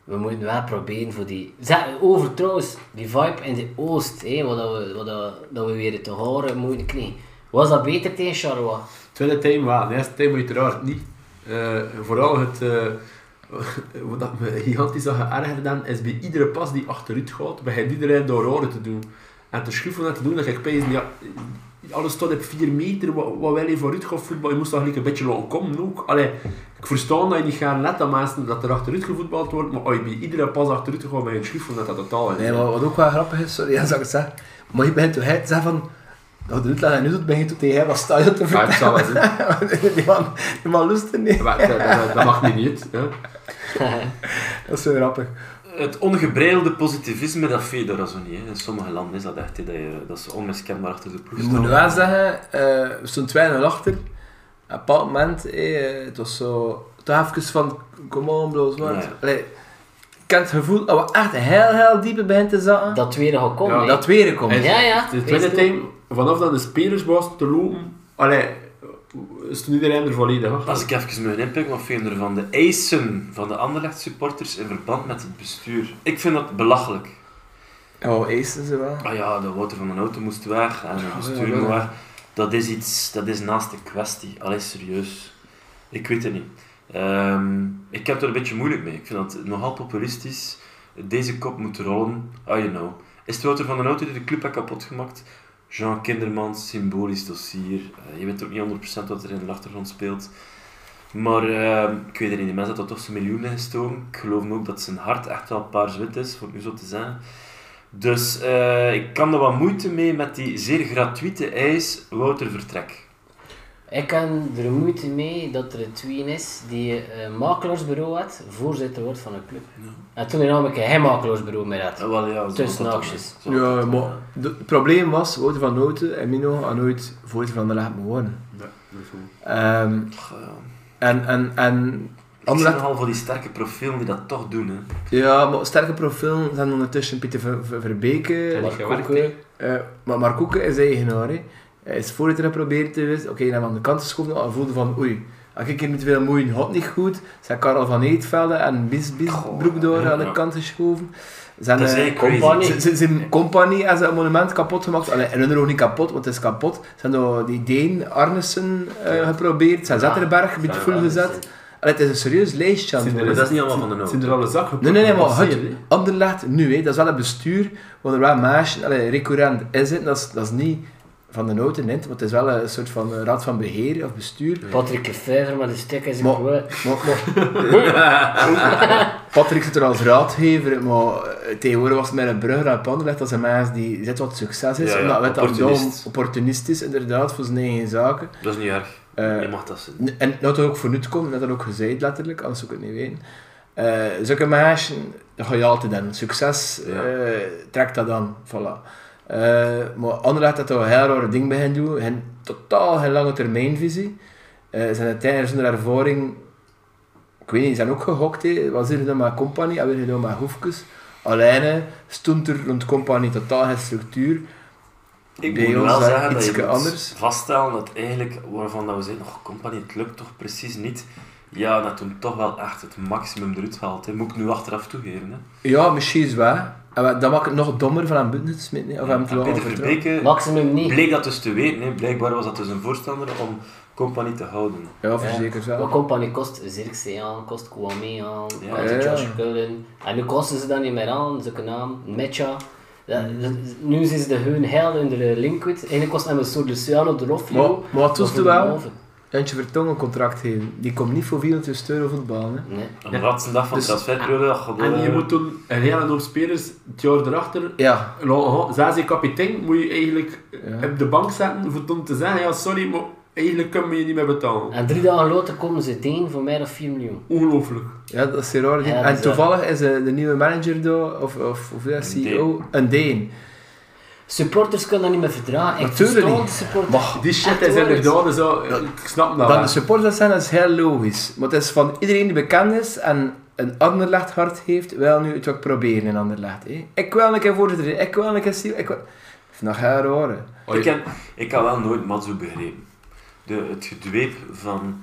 A: We moeten wel proberen voor die... Zeg, over trouwens, die vibe in de oost, hè, wat, dat we, wat dat, dat we weer te horen moeten krijgen. Was dat beter tegen Charlois?
D: Tweede time wel, de eerste time uiteraard niet. Eh, vooral het, eh, wat dat me gigantisch had geërgerd dan, is bij iedere pas die achteruit gaat, begint iedereen door roren te doen. En te schuffen en te doen, dat ik pees, ja, alles stond op 4 meter, wat, wat wil je vooruit gaan voetbal? Je moest toch gelijk een beetje laten komen ook. Allee, ik verstaan dat je niet gaat letten aan mensen dat er achteruit gevoetbald wordt, maar als je bij iedere pas achteruit gaat met je schuifel, dat dat totaal is.
B: Nee, maar wat ook wel grappig is, sorry, ja, zou ik het zeggen. Maar je bent toch hij te zeggen van... Nou, doe het laat en nu doet, ben je toch tegen hem wat sta je te
D: Ja, het zal wel zijn.
B: vertellen. die man, die man lust het niet.
D: Maar dat, dat- dat mag nu niet. Hè.
B: Dat is zo grappig.
C: Het ongebreidelde positivisme, dat vind je daar zo niet. Hè. In sommige landen is dat echt, hè, dat, je, dat ze onmiskenbaar achter de ploeg
B: Dus Ik moet
C: staan.
B: wel zeggen, eh, we stonden 2-0 achter. Op een bepaald moment, eh, het was zo... Toch even van, come on, bloos, man.
C: Ja, ja.
B: Allee, Ik heb het gevoel dat we echt heel, heel diep in beginnen te zaten. Dat,
A: Dat tweede gaat komen.
D: Ja,
A: hè.
B: tweede komt.
D: En-
A: ja, ja.
D: De tweede
A: Wees
D: time, vanaf dat de spelers was te lopen,
C: Mm.
D: allee, stond iedereen er volledig achter.
C: Als ik even mijn inpikken, wat vind je ervan? De eisen van de Anderlecht supporters in verband met het bestuur. Ik vind dat belachelijk.
B: Oh, acen ze wel.
C: Ah ja, de Wouter van den Auto moest weg en het bestuur
B: ja,
C: moet
B: ja.
C: weg. Dat is iets, dat is naast de kwestie. Allee, serieus. Ik weet het niet. Ehm, ik heb er een beetje moeilijk mee. Ik vind dat nogal populistisch. Deze kop moet rollen. I you know. Is het Wouter van den Auto die de club heeft kapotgemaakt? Jean Kindermans, symbolisch dossier. Eh, je weet ook niet 100% wat er in de achtergrond speelt. Maar ehm, ik weet het niet. De mensen hadden toch zijn miljoenen gestoken. Ik geloof ook dat zijn hart echt wel paars-wit is, voor het nu zo te zijn. Dus eh, ik kan er wat moeite mee met die zeer gratuite eis Wouter Vertrek.
A: Ik heb er moeite mee dat er een tween is die een makelaarsbureau had, voorzitter wordt van een club. En toen nam ik geen makelaarsbureau meer had.
C: Eh, wel, ja, zo
A: Tussen
C: had dat
A: haakjes.
C: dan, hè. Zo had
B: Ja,
C: dat
B: maar
C: dan, hè.
B: de- het probleem was, Wouter van Noten en Mino hadden nooit voorzitter van de Laag gewonnen. Ehm,
C: Toch, ja.
B: en, en, en
C: Ik zie
B: Anderlecht,
C: nogal voor die sterke profielen die dat toch doen. Hè.
B: ja, maar sterke profielen zijn ondertussen Pieter Ver- Ver- Verbeke,
D: Zijn die
B: Mark
D: gewerkt,
B: Koeken. Eh, maar Mark Koeken is eigenaar, hè. Hij is voorzitter geprobeerd te wezen. Oké, hij heeft hem aan de kant geschoven, maar hij voelde van oei. Als ik hier niet veel moeien, had niet goed. Zijn Karel van Eetvelde en Bis Bis
C: Goh,
B: Broekdoor
C: ja,
B: aan de
C: ja.
B: kant geschoven. Zijn,
C: Dat is
B: eh,
C: eigenlijk crazy.
A: compagnie.
B: Ze- ze- Zijn compagnie en zijn monument kapot gemaakt. Allee, en hun nog niet kapot, want het is kapot. Ze hebben nog die Deen Arnesen eh, geprobeerd. Zijn Zetterberg een beetje vol gezet. Allee, het is een serieus lijstje aan het
D: Zijn
C: Maar
B: worden.
D: er-
C: dat is niet allemaal van de nood.
D: Zijn er al een zak gepakt?
B: Nee, nee, nee, maar het
D: Passeer, hè.
B: Anderlecht nu, hè, dat is wel het bestuur waar er wel maasje, allee, recurrent in zit. Dat is, dat is niet van de noten, want het is wel een soort van eh, raad van beheer of bestuur.
A: Patrick Lefevre met de stek is
B: Maar-
A: een wel.
B: Maar, maar- Patrick zit er als raadgever, maar eh, tegenwoordig was het met een brugger aan panden legt als een mens die zit wat succes is.
C: Ja, ja,
B: omdat weet dat daarom
C: opportunist.
B: opportunist is, inderdaad, voor zijn eigen zaken.
C: Dat is niet erg.
B: Eh,
C: je mag dat zien.
B: N- En dat er ook voor nut komt, dat er ook gezegd letterlijk, anders zou ik het niet weten. Eh zulke meisjes, dat ga je altijd aan. Succes
C: Ja.
B: eh, trekt dat aan, voilà. Eh, maar Anderlecht dat al een heel rare ding bij hen doen, hen totaal geen lange termijnvisie. Eh zijn uiteindelijk zonder ervaring, ik weet niet, zijn ook gehokt. hè. Wat is er dan met Ah, Company en weer gedaan met Hoefkes. Alleen hè, stond er rond Company totaal geen structuur.
C: Ik
B: bij
C: moet
B: ons
C: wel
B: daar
C: zeggen dat je
B: ietske
C: moet
B: anders.
C: vaststellen dat eigenlijk waarvan dat we zeiden, oh, compagnie, het lukt toch precies niet. Ja, dat toen toch wel echt het maximum eruit haalt. Hè. Moet ik nu achteraf toegeven. Hè.
B: Ja, misschien is het waar. En wa- dat maakt het nog dommer van hem buiten te smeten, hè, of hem te
C: En
B: laten
C: Peter
B: vertrouwen.
C: Verbeke
A: Maximum niet.
C: bleek dat dus te weten. Hè. Blijkbaar was dat dus een voorstander om compagnie te houden.
B: Ja,
A: Ja.
B: verzekerd
A: Wat
B: wel.
A: compagnie kost Zirkzee aan, kost Kwame aan,
C: Ja,
A: kost
B: ja.
A: Josh Cullen. En nu kosten ze dat niet meer aan, zulke naam, Mecha. Dat- dat- Nu zijn ze de hun heil in de liquid. Eigenlijk kost hem een soort Luciano de
B: Maar,
A: Roffio.
B: maar wat doet
A: Of
B: ze
A: een
B: wel?
A: Verhoeven.
B: Eentje Vertongen een contract geven. Die komt niet voor 400 euro voetballen. Hè.
A: Nee.
C: Een ratse dag van
B: Dus-
C: transferperiode. dat gaat,
D: En je
C: eh,
D: moet toen een hele hoop spelers het jaar erachter
B: Ja.
D: Zazie kapitein moet je eigenlijk
B: Ja.
D: op de bank zetten voor om te zeggen, ja sorry, maar eigenlijk kunnen we je niet meer betalen.
A: En drie dagen later komen ze deen voor mij dat 4 miljoen.
D: Ongelooflijk.
B: ja, dat is heel raar.
A: Ja,
B: en
A: dus,
B: toevallig is eh, de nieuwe manager daar, of, of, of ja, CEO, een Deen.
A: Supporters kunnen dat niet meer verdragen. Ik
B: Natuurlijk
A: versta
B: niet.
A: de supporters.
B: Maar
D: Die shit
A: Echt
D: is
A: waar,
D: inderdaad zo, ik snap dat
B: dan
D: wel.
B: de supporters zijn, dat is heel logisch. Maar het is van iedereen die bekend is en een Anderlecht hart heeft, wil nu het ook proberen in Anderlecht. Hè. Ik wil een keer voorzitter, zijn, ik wil een keer CEO, ik wil... Dat is nog heel raar. hè.
C: Ik, heb, ik had wel nooit Matsu begrepen. De, het gedweep van,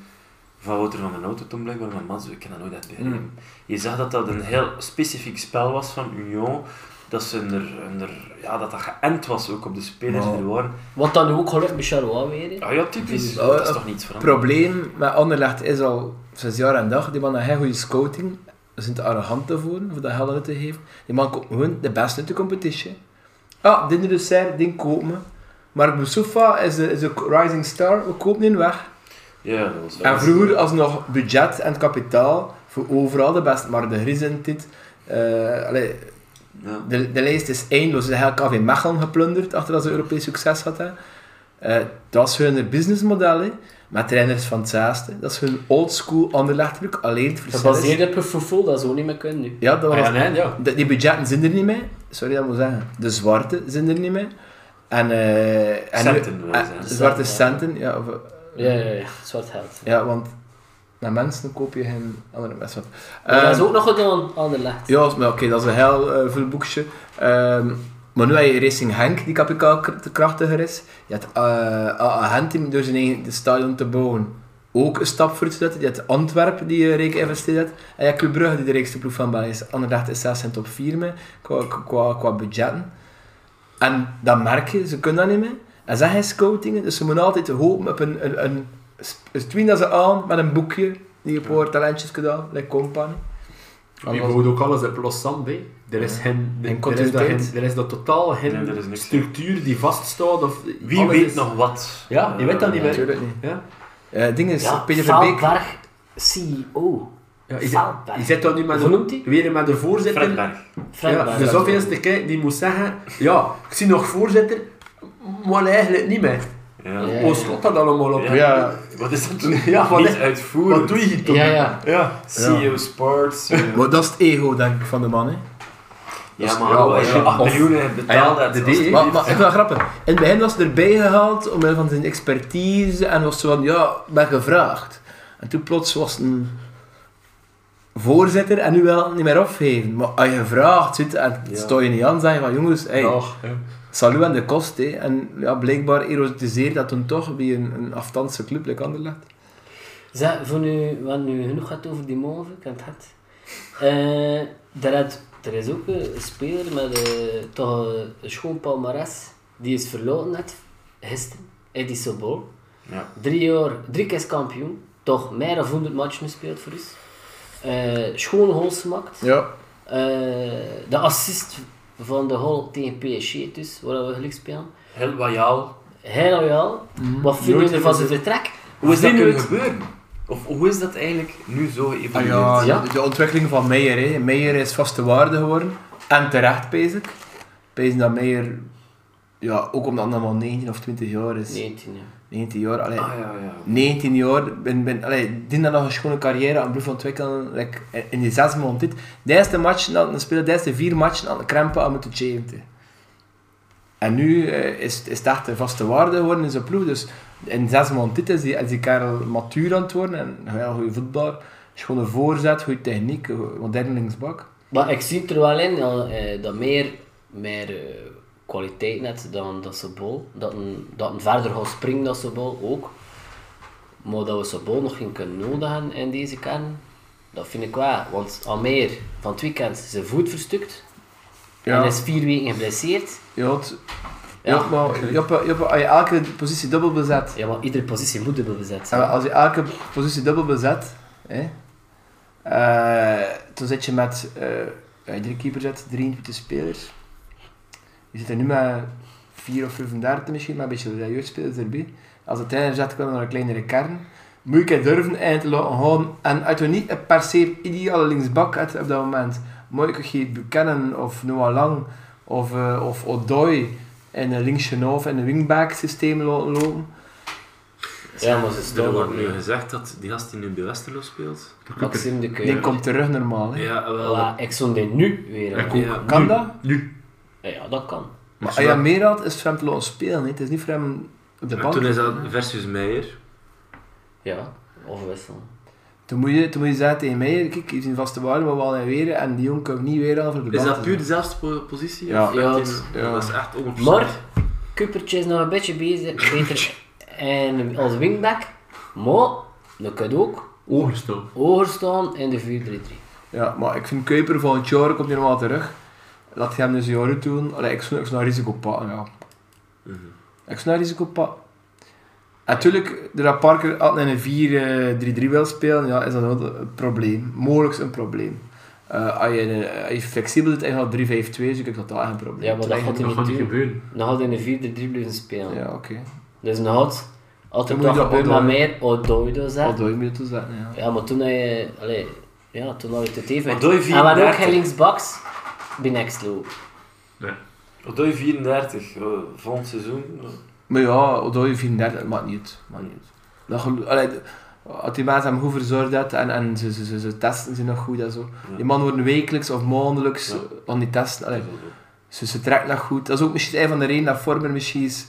C: van Wouter van den Auto toen blijkbaar met Matsu, ik heb dat nooit echt begrepen.
D: Hmm.
C: Je zag dat dat een heel specifiek spel was van Union. Dat, ze er, er, ja, dat dat geënt was ook op de spelers die er waren.
A: Wat dan nu ook gelukt met Charlois weer. hè.
C: Ah ja, typisch.
B: Oh,
C: dat is
B: eh,
C: toch niets veranderd.
B: probleem met Anderlecht is al sinds jaar en dag, die man heeft geen goede scouting. Ze zijn te arrogant daarvoor, voor dat geld uit te geven. Die man komt gewoon de beste uit de competitie. Ah, Dinder de Serre, die kopen we. Mark Boussoufa is een, is een rising star, we kopen die weg.
F: Ja, dat was
B: En vroeger als nog budget en kapitaal voor overal de best, maar de Gries in dit. eh, allee,
F: Ja.
B: de, de lijst is eindeloos. Ze hebben KV Mechelen geplunderd achter dat ze Europees succes hadden. Eh, dat is hun businessmodel, hè. met trainers van het zesde. Dat is hun oldschool anderlechtelijk, alleen het verschil is-
A: Gebaseerd op een vervoel dat ze ook niet meer kunnen nu.
B: Ja, dat was
D: Ah, ja, nee, ja.
B: de- die budgetten zijn er niet mee. Sorry dat ik moet zeggen. De zwarte zijn er niet mee. En, eh en nu-
F: Centen, wil
B: eh,
F: zeggen.
B: zwarte
A: Centen,
B: centen, ja. Of,
A: Ja, ja, ja. Zwart geld.
B: ja, want naar mensen koop je geen andere mensen. Ehm,
A: Maar dat is ook nog gedaan aan de licht.
B: Ja, maar oké, dat is een heel eh veel boekje. Ehm, maar nu heb je Racing Henk, die kapitaalkrachtiger is. Je hebt eh AA Gent, die door zijn eigen stadion te bouwen ook een stap voor te zetten. Je hebt Antwerpen, die eh rijk investeert heeft. En je hebt Club Brugge, die de rijkste ploeg van België is. Anderlecht is zelfs in top 4 mee, qua, qua, qua budgetten. En dat merk je, ze kunnen dat niet meer. En ze hebben geen scoutingen, dus ze moeten altijd hopen op een... een, een sp- ze doen dat ze aan met een boekje, die op haar talentjes gedaan, like Company.
D: Je bouwt ook alles op loszand, hè. Er is, geen,
B: Geen
D: er, er is, dat,
B: continuïteit.
D: geen- er is dat totaal geen
F: Nee, er is niks.
D: structuur die vaststaat. Of,
F: Wie
D: alles
F: weet
D: is-
F: nog wat?
D: Ja, je
F: Eh,
D: weet dat niet meer.
B: Natuurlijk niet.
D: Ja?
B: Eh ding is,
A: Ja,
B: Peter Verbeek.
A: Valberg, CEO.
D: Ja, je, zit,
A: Veldberg.
D: je zit dat nu met
A: Hoe noemt hij?
D: de, weer met de voorzitter.
F: Fred Berg.
A: Frank
D: ja,
A: Berg.
D: de zoveelste keer die moet zeggen, ja, ik zie nog voorzitter, maar eigenlijk niet meer.
F: Ja.
A: Ja.
D: Hoe slot dat allemaal op?
B: Oh Ja,
F: Wat is dat toen?
D: Ja, wat
F: niet
D: is-
F: uitvoeren.
D: Wat doe je hier toch?
A: Ja, ja.
F: Ja. CEO E Sports. eh,
B: maar dat is het ego, denk ik, van de man. Hè.
F: ja, maar hallo, als je
D: ja.
F: 8
D: Of-
F: miljoen hebt betaald,
D: Ah ja,
F: dat
D: de
F: is-
D: DE.
B: Maar, maar ik wil grappen. In het begin was het erbij gehaald omwille van zijn expertise en was zo van, ja, ik ben gevraagd. En toen plots was het een voorzitter en nu wel niet meer afgeven. Maar als je gevraagd zit en
F: Ja.
B: sta je niet aan, zeg je van jongens, hey,
D: Dag, ja.
B: salut aan de kost. hè. En ja, blijkbaar erotiseert dat toen toch bij een, een afstandse club, like Anderlecht.
A: Zeg, voor nu, want nu genoeg gaat over die move, ik heb het gehad. Eh, daar had- er is ook een speler met eh, toch een, een schoon palmares, die is verloren net, gisteren, Eddie Sobol.
F: Ja.
A: Drie, jaar, drie keer kampioen, toch meer dan 100 matchen gespeeld voor ons. Eh schoon goals gemaakt.
B: Ja.
A: Eh, de assist van de goal tegen PSG, dus, waar we gelijk spelen.
F: Heel loyaal.
A: Heel royaal. Wat vinden
F: Nooit
A: jullie van zijn
F: gezien.
A: vertrek?
F: Hoe is dat
A: Vinden
F: kunnen
A: jullie
F: gebeuren? Of hoe is dat eigenlijk nu zo
B: Ah
F: geëvolueerd?
B: ja,
A: Ja.
B: De, de ontwikkeling van Meijer. Hè. Meijer is vaste waarde geworden. En terecht, pees ik. Pees dat Meijer, ja, ook omdat hij nog maar 19 of 20 jaar is.
A: het? 19, ja.
B: 19 jaar, allee,
F: Ah, ja, ja.
B: 19 jaar, ben, ben, allee, die dan nog een schone carrière aan blijft ontwikkelen. like, in- in die zes maanden dit. De eerste match na een speler, de eerste vier matchen aan het krampen aan moeten cheenten. En nu eh, is, is het echt een vaste waarde geworden in zijn ploeg. Dus in zes maanden dit is die, is die kerel matuur aan het worden. En een heel goede voetbal. Schone voorzet, goede techniek, een moderne linksbak.
A: Maar ik zie het er wel in ja, eh, dat meer, meer eh, kwaliteit net dan dat ze bol. Dat een, dat een verder gaat springen dan ze bol ook. Maar dat we ze bol nog geen kunnen nodigen in deze kern, dat vind ik wel. Want al meer van het weekend zijn voet verstukt.
B: Ja.
A: En is vier weken geblesseerd.
B: Je had, je
A: Ja.
B: had maar, je had, je had- als je elke positie dubbel bezet,
A: Ja, maar iedere positie moet dubbel bezet
B: En
A: zijn.
B: als je elke positie dubbel bezet, hè, eh, toen zit je met eh, ja, drie keeper zet, 23 spelers. Je zit er nu met 4 of 35 misschien, maar een beetje de jeugdspelers erbij. Als de trainer zet, kwam er een kleinere kern. Moet je durven eind te laten houden. En uit je niet een per se ideale linksbak hebt op dat moment, moet je geen Buchanan of Noah Lang of, eh, of Odoi en een linksje of en een wingback systeem laten lopen.
A: Ja, maar ze
F: Er
A: staan
F: wordt
A: ook
F: nu
A: niet.
F: gezegd dat die gast die nu bij Westerlo speelt...
A: Maxime de
B: Die
A: Keur.
B: komt terug normaal. Hè.
F: Ah, Ja, wel...
A: Voilà, ik zond die nu weer. aan.
F: Ja.
B: Kan dat?
D: Nu.
A: Ja, ja, dat kan.
B: Maar als je dat meer had, is het voor hem te laten spelen. hè. Het is niet voor hem op de
F: En
B: bank.
F: toen is dat versus Meijer.
A: Ja, overwisselen.
B: Toen moet je, toen moet je zeggen tegen mij, kijk, hier zijn vaste waarden, maar we gaan weer en die jongen kan ik niet weer aan voor de bank.
F: Is dat
B: te
F: puur
B: zetten.
F: dezelfde po- positie?
B: Ja.
F: Of echt
A: Ja,
F: een-
A: het-
B: ja.
F: Dat is echt onopzicht.
A: Maar Kupertje is nog een beetje bezig, beter en als wingback. Maar dat kan ook
D: Overstaan.
A: hoger staan in de 4-3-3.
B: Ja, maar ik vind Kuiper van het jaar komt hij normaal terug. Laat hij hem dus jaren doen. Allee, ik zou ik zou een risico pakken, ja. Ik zou een risico pakken. Natuurlijk, doordat Parker altijd in een 4-3-3 wil spelen, ja, is dat wel een probleem. Mogelijk een probleem. Eh, als, je, eh, als je flexibel doet en je gaat 3-5-2, zie ik dat dat echt een probleem
A: Ja, maar dat gaat hij
D: Dat
A: niet
D: gaat niet
A: doen.
D: gebeuren.
A: Dan gaat hij in de 4-3-3 blijven spelen.
B: Ja, oké.
A: Dus dan gaat, Altijd
B: Dan moet je
A: toch
B: dat
A: ook maar
B: bijbouwen.
A: meer Odoido
B: Al
A: zeggen.
B: door je moet te zetten, ja.
A: Ja, maar toen had je... Allee, ja, toen had je het even...
C: Odoi
A: En we hadden Ah, ook
C: 34.
A: geen linksbaks bij Nextlo.
C: Wat doe je 34? eh,
F: oh,
C: volgend seizoen?
B: Maar ja, door je 34, maakt niet uit. Maakt niet uit. Dat gel- allee, d- als die mensen hem goed verzorgd had en, en ze, ze, ze, ze testen ze nog goed en zo.
C: Ja.
B: Die man worden wekelijks of maandelijks
C: Ja.
B: aan die testen. Allee,
C: Dat is wel
B: ze,
C: zo.
B: ze trekken nog goed. Dat is ook misschien een van de redenen dat Vormer misschien is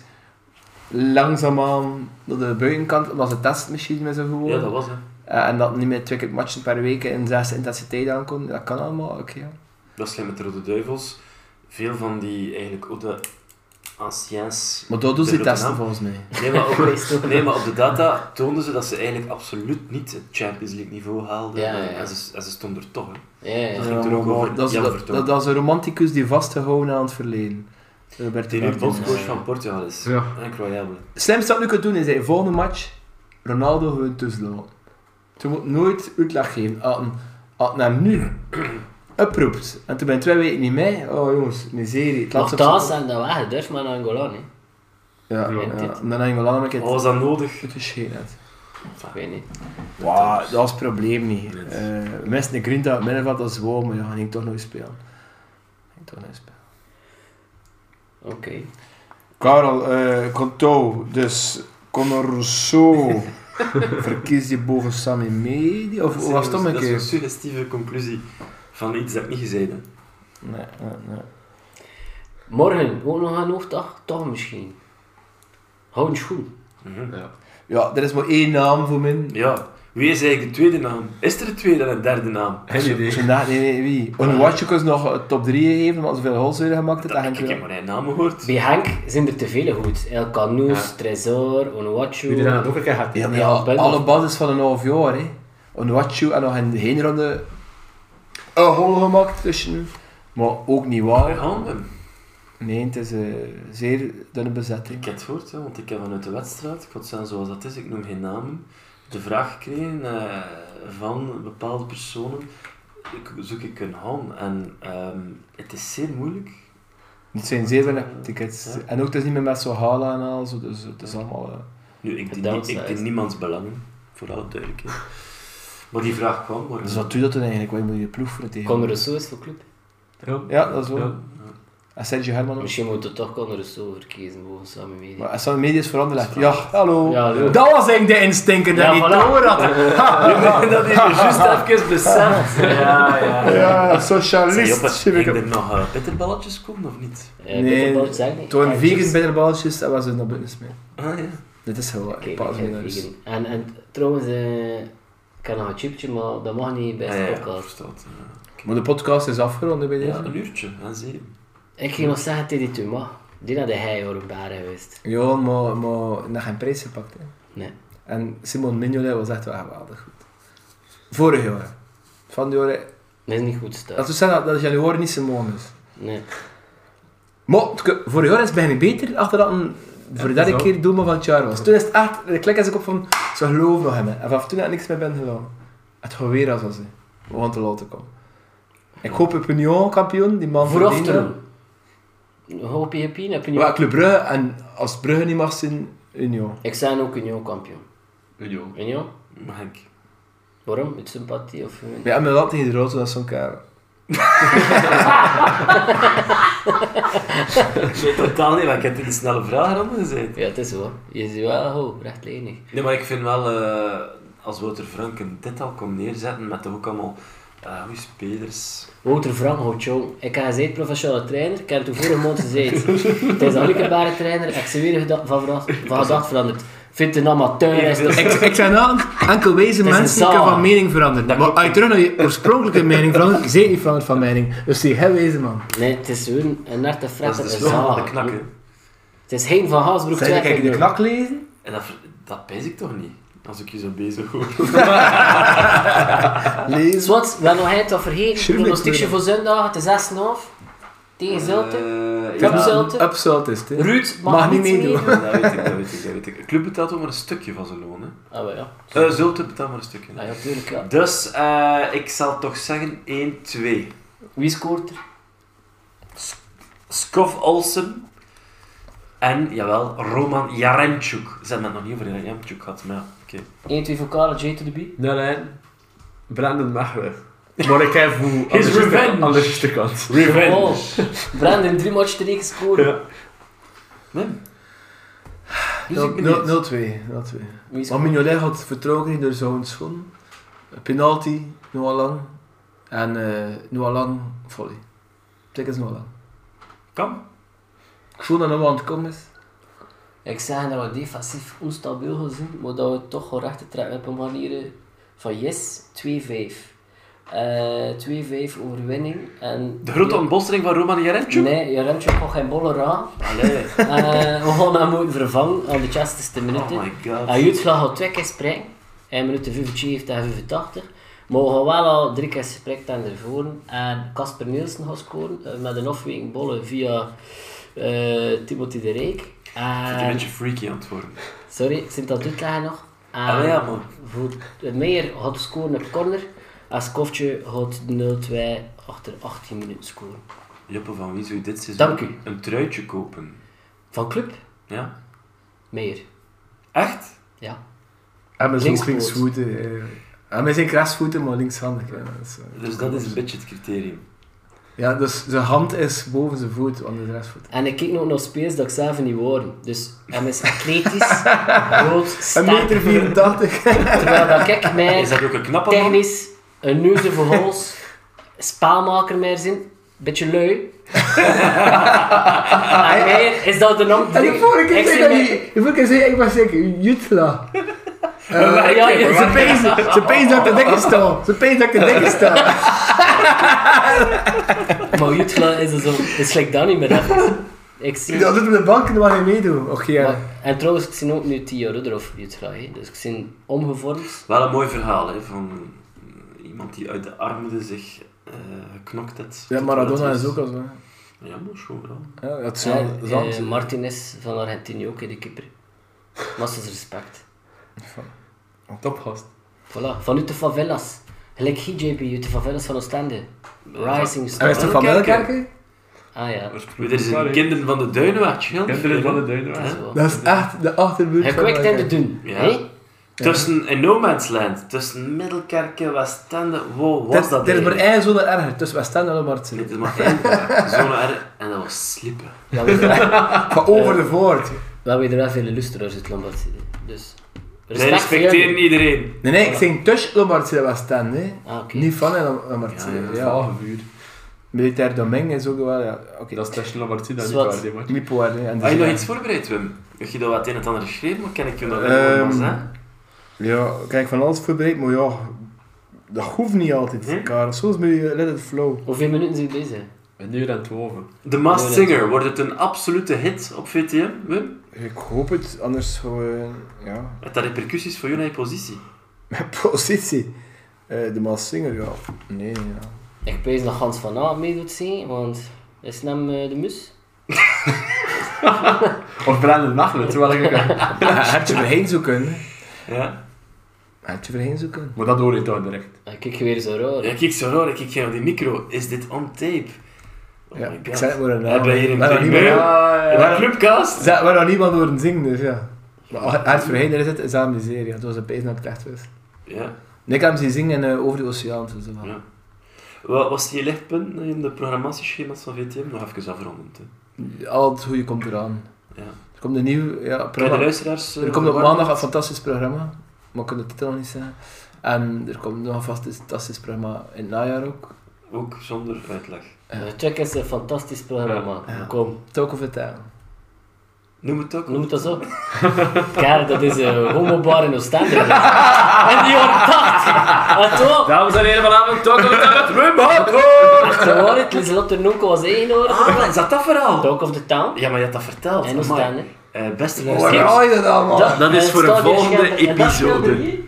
B: langzaamaan naar de buitenkant, omdat ze testen misschien niet meer zo goed
C: Ja,
B: worden.
C: dat was het.
B: Eh, en dat niet meer twee keer matchen per week in zes intensiteit aankomen. Dat kan allemaal, oké. ja.
C: Dat is gelijk met de Rode Duivels. Veel van die eigenlijk ook de anciens.
B: Maar dat doen ze die
C: De
B: testen
C: Rotterdam.
B: volgens mij.
C: Nee maar, op, nee, maar op de data toonden ze dat ze eigenlijk absoluut niet het Champions League niveau haalden.
A: Ja, ja.
C: En, ze, en ze stonden er toch. hè.
A: Ja, ja.
C: Dat ging er ook
B: maar
C: over
B: dat, is,
C: Jan
B: dat,
C: Vertongen.
B: dat, dat is een romanticus die vastgehouden aan het verleden. Robert
C: Die nu
B: Martens.
C: bondscoach van Portugal is.
D: Ja.
C: Incroyable.
B: Het slimste wat je kunt doen is de volgende match Ronaldo gewoon tussenlaten. Je moet nooit uitleg geven. Als een- als een hem nu oproept en toen ben je twee weken niet mee, oh jongens, miserie. Het
A: Nog
B: laatste
A: thuis
B: op-
A: zijn dat wij gedurfd met Angola, hè.
B: Ja, ja.
A: Ja.
B: En dan heb je wel allemaal een
C: Wat
B: keer het
C: was dat nodig?
B: uitgeschenen. hebt.
A: Ik weet niet.
B: Wauw, dat was het probleem niet.
C: Nee.
B: Eh, we misten de Grinta uit het middenveld als wow, maar ja, ging ik toch nooit spelen. Ging toch nooit spelen.
A: Oké.
B: Karel, eh Conto, dus Connorso. Verkies je boven Sammy Medi? Of hoe was het om een
C: dat is
B: keer?
C: een suggestieve conclusie van iets dat ik niet gezegd heb.
B: Nee, nee, nee.
A: Morgen ook nog een hoofddag? Toch misschien. Hou een schoen.
C: Mhm.
B: Ja, er is maar één naam voor min.
C: Ja, wie is eigenlijk de tweede naam? Is er een tweede en een derde naam?
D: Geen idee.
B: Vandaag, nee, nee, wie? Onwatchukers nog eh, top 3 gegeven, want zoveel goals werden gemaakt. Dat
C: Dat, ik
B: eigenlijk
C: heb
B: wel.
C: maar één naam gehoord.
A: Bij Henk zijn er te veel goed. El Canoes, Tresor, Onuachu.
D: Wie er aan het ook een keer gaat.
B: Ja, maar
A: Ja,
B: ja,
A: bijna.
B: alle basis van een half jaar. hè. Onwatchu en nog in geen ronde een goal gemaakt tussen. Maar ook niet
C: Waar
B: waar.
C: gaan we?
B: Nee, het is een zeer dunne bezetting.
C: Ik heb het gehoord, hè, want ik heb vanuit de wedstrijd, ik word zijn zoals dat is, ik noem geen namen, de vraag gekregen eh, van bepaalde personen, ik, zoek ik een ham? En ehm, het is zeer moeilijk.
B: Het zijn zeer weinig tickets.
C: Ja.
B: En ook, het is niet meer met Sohala en al, zo, dus het is allemaal... eh,
C: Nu, ik dien,
A: Verdampt,
C: nie- ik
A: dat is-
C: dien niemands belangen, voor alle duidelijkheid. Maar die vraag kwam, maar...
B: Dus wat doe je dat dan eigenlijk? Wat moet je je ploeg voor tegen?
A: Conor Rousseau is voor club.
B: Ja, dat is wel.
D: Ja.
B: En Sergio Herman ook.
A: Misschien moeten we toch Conor Rousseau verkiezen volgens Samen
B: Maar
A: Media.
B: als dat media is veranderd, ja, hallo.
A: Ja, hallo.
B: Dat was eigenlijk de instinker dat
A: Ja,
B: niet
A: voilà.
B: door had.
C: dat is juist even beseft. Ja, ja.
B: Ja,
C: Zeg,
B: socialist.
C: Joppe,
B: Zie ik
C: ging
B: hem.
C: er nog eh, bitterballetjes komen of niet?
A: Eh,
B: Nee,
A: bitterbal zeggen niet.
B: Het waren
A: Ah,
B: vegan
A: juist.
B: bitterballetjes, dat was het nog business mee.
C: Ah, ja.
B: Dit is heel
A: Oké,
B: erg.
A: ik
B: Paas
A: ben
B: mee naar huis.
A: vegan. En, en trouwens, eh, ik kan nog een chipje, maar dat mag niet bij
C: Ah,
A: de
C: ja, ja,
A: podcast.
C: verstaat.
B: Maar de podcast is afgerond bij
C: Ja,
B: deze.
C: een uurtje, hè, zeven.
A: Ik ging nog zeggen tegen die Tuma. Die had hij hoor een baren geweest.
B: Ja, maar, maar dat geen prijs gepakt. Hè.
A: Nee.
B: En Simon Mignolet was echt wel geweldig goed. Vorig jaar. Van die jaar.
A: Dat is niet goed staan.
B: Dat we zeggen dat, dat januari niet Simon is.
A: Nee.
B: Maar het ke- vorig jaar is het bijna beter, achter dat een voor de
D: dat
B: derde
D: is wel.
B: keer doelman van het jaar was. Toen is het echt, de klik is ik op van, ze geloven nog in mij. En vanaf toen heb ik niks meer ben gedaan. Het gaat weer als was, we gaan te laat te komen. Ik hoop op Union kampioen, die man
A: Vooraf
B: verdiende.
A: te doen. Hoop je heb je, heb je
B: Maar
A: niet.
B: Club Brugge, en als Brugge niet mag zijn, Union.
A: Ik zijn ook Union kampioen.
D: Union.
A: Union?
C: Maar Henk,
A: Waarom? Met sympathie of...
B: Bij hebben dat tegen de Rozen, dat is zo'n kerel.
C: Nee, totaal niet, want ik heb in de snelle vraagronde gezeten.
A: Ja, het is zo. Je is wel hoog, rechtlijnig.
C: Nee, maar ik vind wel, eh, als Wouter Franken dit al kon neerzetten, met toch ook allemaal eh goede spelers.
A: Wouter Frank houdt jong. Ik heb gezegd professionele trainer, ik heb toen vorige maand gezegd. Het is een gelukkige trainer, ik heb ze weer geda- van, verrast- van gedacht veranderd. Vindt een amateur, is toch-
B: Ik, ik zijn nou enkel wijze
A: Het is
B: mensen
A: een
B: die
A: zaal.
B: van mening veranderen.
C: Dat
B: maar
C: klopt.
B: als je terug naar je oorspronkelijke mening verandert, je bent niet veranderd van mening. Dus die heel wijze man.
A: Nee, het is hun een nette fret
C: Dat
A: en
C: is
A: een
C: dus wel aan de
A: zaal.
C: knak, hè.
A: Het is geen Van Haasbroek
B: Zeg, kijk, de
A: Twijfel.
B: knak lezen.
C: En dat, ver- dat pijs ik toch niet, als ik je zo bezig hoor.
B: Lezen.
A: Zwart, wel nog het al vergeten.
B: Schroef
A: Pronostiekje
B: ik
A: voor zondag, het is 6,5. Tegen Zulte.
C: Eh,
A: Club
C: ja,
A: Zul-
C: dat
A: Upsult, hè?
B: Upsult is het, hè.
A: Ruud mag,
B: Eh, mag niet
A: niet meedoen.
B: meedoen.
C: weet ik, dat weet ik, dat weet ik. De club betaalt ook maar een stukje van zijn loon, hè.
A: Ah, wel, ja.
C: Eh Zulte betaalt maar een stukje.
A: Ah, ja, tuurlijk, ja.
C: Dus, eh, ik zal toch zeggen 1-2.
A: Wie scoort er?
C: Skof Olsen. En, jawel, Roman Jaremchuk. Ze hebben het nog niet over Jaremchuk gehad, maar ja, oké.
A: 1, 2 voor Karel, J to the B.
D: Nee, Nou, nee. Brandon mag wel. Maar ik heb hoe...
C: His revenge.
D: Aan de juiste kant.
A: Oh, Brandon, drie matchen tegen scoren.
D: Ja.
C: Nee. Dus ik ben
B: 0-2. 0-2.
A: Wie is-
B: Maar Mignolet had vertrokken niet door zo'n schoon. Penalty, Noah Lang. En eh Noah Lang, volley. Kijk eens Noah Lang.
C: Kan.
B: Ik voel dat Noah aan het komen is.
A: Ik zeg dat we defensief onstabiel gaan zijn, maar dat we toch gaan rechter trekken op een manier van yes, 2-5. Eh 2-5 overwinning. En
C: De grote ontbolstering van Roman Jaremchuk?
A: Nee, je remt je gewoon geen bollen aan.
C: Allee.
A: Eh, we gaan hem moeten vervangen aan de 60ste minuut.
C: Oh my god.
A: Hij uitslag al twee keer springen. En minuut 75 tegen 85. Maar we gaan wel al drie keer gesprek aan ervoor. En Casper Nielsen gaat scoren eh, met een afweging bollen via eh Timothy de Rijk.
C: Ik ben een
A: En,
C: beetje freaky aan het worden.
A: sorry, ik zit dat uitleggen nog. En
C: Ah, ja, man.
A: Voor het meer gaat scoren op corner. En Skoftje gaat 0-2 achter 18 minuten scoren.
C: Joppe, van wie zou je dit seizoen
A: Dank u.
C: een truitje kopen?
A: Van club,
C: Ja?
A: meer.
C: Echt?
A: Ja.
B: Hij is ook
A: Linkspoot.
B: linksvoeten. eh. Hij is geen rechtsvoeten, maar linkshandig. hè. Dat is, eh,
C: Dus dat is een beetje het criterium.
B: Ja, dus zijn hand is boven zijn voet, want het is rechtsvoet.
A: En ik kijk nog naar spelers dat ik zelf niet worden. Dus hem is atletisch, groot,
B: Een
A: sterk.
B: meter 84.
A: Terwijl dat ik
C: Is
A: mij
C: dat ook een knappe man?
A: technisch een neuze voor hols, spaalmaker meer zin, beetje lui. en mij is dat de naam.
B: En de vorige keer
A: Ik
B: zei
A: zie
B: dat
A: mij-
B: hij... De vorige keer zei hij, ik was zeker, Jutla.
A: Ja, ja, ja,
B: Ze pezen, Eh, ze pezen dat ik de dikke sta. Ze pezen dat ik de dikke sta.
A: Maar Jutla is er zo, is gelijk dat niet meer. even. Ik zie.
B: Dat doet op de bank en dan mag hij meedoen. Och ja.
A: Maar- en trouwens, ik zie ook nu 10 jaar ouder of Jutla. hè. Dus ik zie omgevormd.
C: Wel een mooi verhaal, hè, van eh, iemand die uit de armoede zich eh, geknokt heeft.
B: Ja,
C: Tot
B: Maradona
C: wat
B: is ook al zo.
C: Ja, maar zo, ja.
B: Ja, dat is
A: Ja,
B: wel zand.
A: eh, Martinez van Argentinië ook in de keeper. Massas respect.
D: Topgast.
A: Voilà, vanuit de favelas. Gelijk GJP uit de favelas van Oostende. Rising
B: En
A: Star.
B: is toch van Welkerken?
A: Ah ja,
C: Dit is een kinderen van de duinenwaard, heel
D: Kinderen van de
A: dat
D: Duinen.
A: is wel.
B: Dat is echt de achterbuurt van
A: Gekwikt en de
B: Welkerken.
A: doen.
C: Ja.
A: hè?
C: Tussen in No Man's Land, tussen Middelkerken, Westende, wow,
B: Het
C: was
B: is-
C: dat
B: Er is maar
C: eigenlijk?
B: één zone erger, Dus tussen Westend en Martsen.
C: Dit is maar één vraag. Zo'n R, en dat was slippen.
A: Ja, we hebben er-
B: Van over de voort.
A: we hebben er wel veel luisteraars uit Lombard. Dus
C: Zij
A: respect voor
C: respecteren
A: jullie.
C: iedereen.
B: Nee, nee, ik zing tussen Lombardse en Westend. hè.
A: Ah, oké.
B: Niet van en Martsen.
C: Ja, ja,
B: Ja,
D: Vagevuur.
B: Militair Domingue is ook wel... Ja. Oké,
D: Dat is Tesla Martin, dat
A: Is
D: niet
A: wat?
D: waar, die man.
B: Mipo hè, en de
C: Had je nog
B: Zidane.
C: iets voorbereid, Wim? Heb je dat wat het een en het ander geschreven, maar ken ik je nog wel
B: Ehm,
C: um, hè?
B: Ja, kijk, van alles voorbereid, maar ja, dat hoeft niet altijd,
C: Hm?
B: Karel. Soms moet je let it flow.
A: Hoeveel minuten zijn deze?
D: Een uur en twaalf.
C: The Masked
A: nee,
C: Singer, wordt het een absolute hit op VTM, Wim?
B: Ik hoop het, anders gaan we, ja,
C: Met dat repercussies voor jou naar je positie.
B: mijn positie. Eh, de Maas Singer, ja. Nee, ja.
A: Ik pees dat Hans van A mee doet zien, want is hem eh, de mus?
D: Of Brandon Machelen, terwijl ik ook...
B: Heb je voorheen zo kunnen?
C: Ja?
B: Heb je voorheen zo kunnen?
D: Maar dat hoor je toch direct.
A: Ik kijk je weer zo raar.
C: ja kijk, zo raar, kijk jij op die micro. Is dit on tape? Oh
B: Ja,
C: my god.
B: ik zei het maar een naam.
C: Hebben we hier een
B: Maar dan niet
C: primeur?
B: meer-
C: In
D: ja.
C: de clubcast?
B: Zet waar dan niemand horen zingen, dus ja. Maar als hij het voorheen erin zit, is dat een miserie. Dat was een pijn dat ik echt was.
C: Ja.
B: Nee, ik heb hem zien zingen in, eh, Over de Oceaan, zo. zo.
C: Ja. Wat was je lichtpunt in de programmatieschema's van VTM? Nog even afrondend. Hè.
B: Al het goede komt eraan.
C: Ja.
B: Er komt een nieuw, ja,
C: Kan je de
B: programma.
C: luisteraars... eh,
B: Er komt op
C: verwarmen?
B: maandag een fantastisch programma, maar ik kan de titel nog niet zeggen. En er komt nog een vast- fantastisch programma in het najaar ook.
C: Ook zonder uitleg.
A: Eh, Check eens een fantastisch programma.
B: Ja. Ja.
A: Kom,
B: Talk of the Town.
C: Noem het ook.
A: noem het dat zo. Karel, dat is een homobar in Oostende. En die wordt dat! En toch?
D: Dames en heren, vanavond toch het
A: Ze horen het, Lieselotte Noeko was ingenodigd.
C: Ah, is dat dat verhaal?
A: Talk of the Town.
C: Ja, maar je had dat verteld.
A: En
C: Amai.
A: Oostende.
C: Eh, beste
B: Waar
C: luisteraars.
B: ga je dat allemaal?
C: dat is
A: eh,
C: voor een
A: Stadion
C: volgende
A: Schelpen. En dat speelde
C: episode.
A: hier.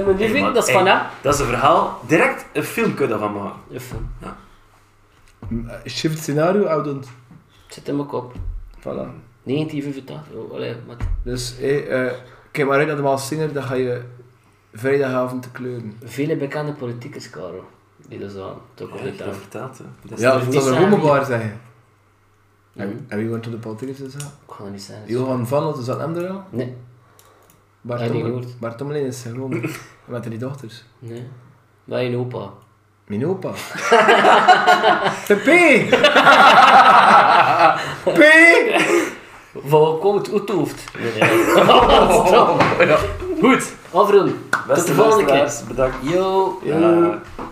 A: Ja, maar die
C: Hey,
A: vind
C: man,
A: ik, dat is
C: hey,
A: van hem.
C: Dat is een verhaal. Direct een film kun je daarvan maken.
A: Even,
B: Shift scenario, oudend.
A: Zit in mijn kop.
B: Voilà.
A: 1985. Oh, allee, wat.
B: Dus eh, eh, kijk maar uit naar de Maas Singer, dan ga je vrijdagavond te kleuren.
A: Vele bekende politiekers, Karel. Die dat zo aan. Talk of
C: Ja,
A: the
C: dat
A: Town.
C: verteld. Hè. Dat is
B: Ja,
C: toch
B: het
C: niet-
B: was
A: niet
B: een
A: samen,
B: homobar zeggen. En, en wie went to the Paltrins is dat?
A: Ik ga dat niet zeggen.
B: Johan van Lot is dat hem er al?
A: Nee,
B: Bart
A: Ja, die
B: Tommelin-
A: hoort.
B: Bart Tommelin is gewoon met die dochters.
A: nee. Dat is een opa.
B: Mijn opa. Pepe! P!
A: Van wat kwam het uit hoofd? Nee, nee. Goed, afronden. Tot
F: Beste
A: de volgende keer.
F: luisteraars, bedankt.
A: Yo.
F: Eh,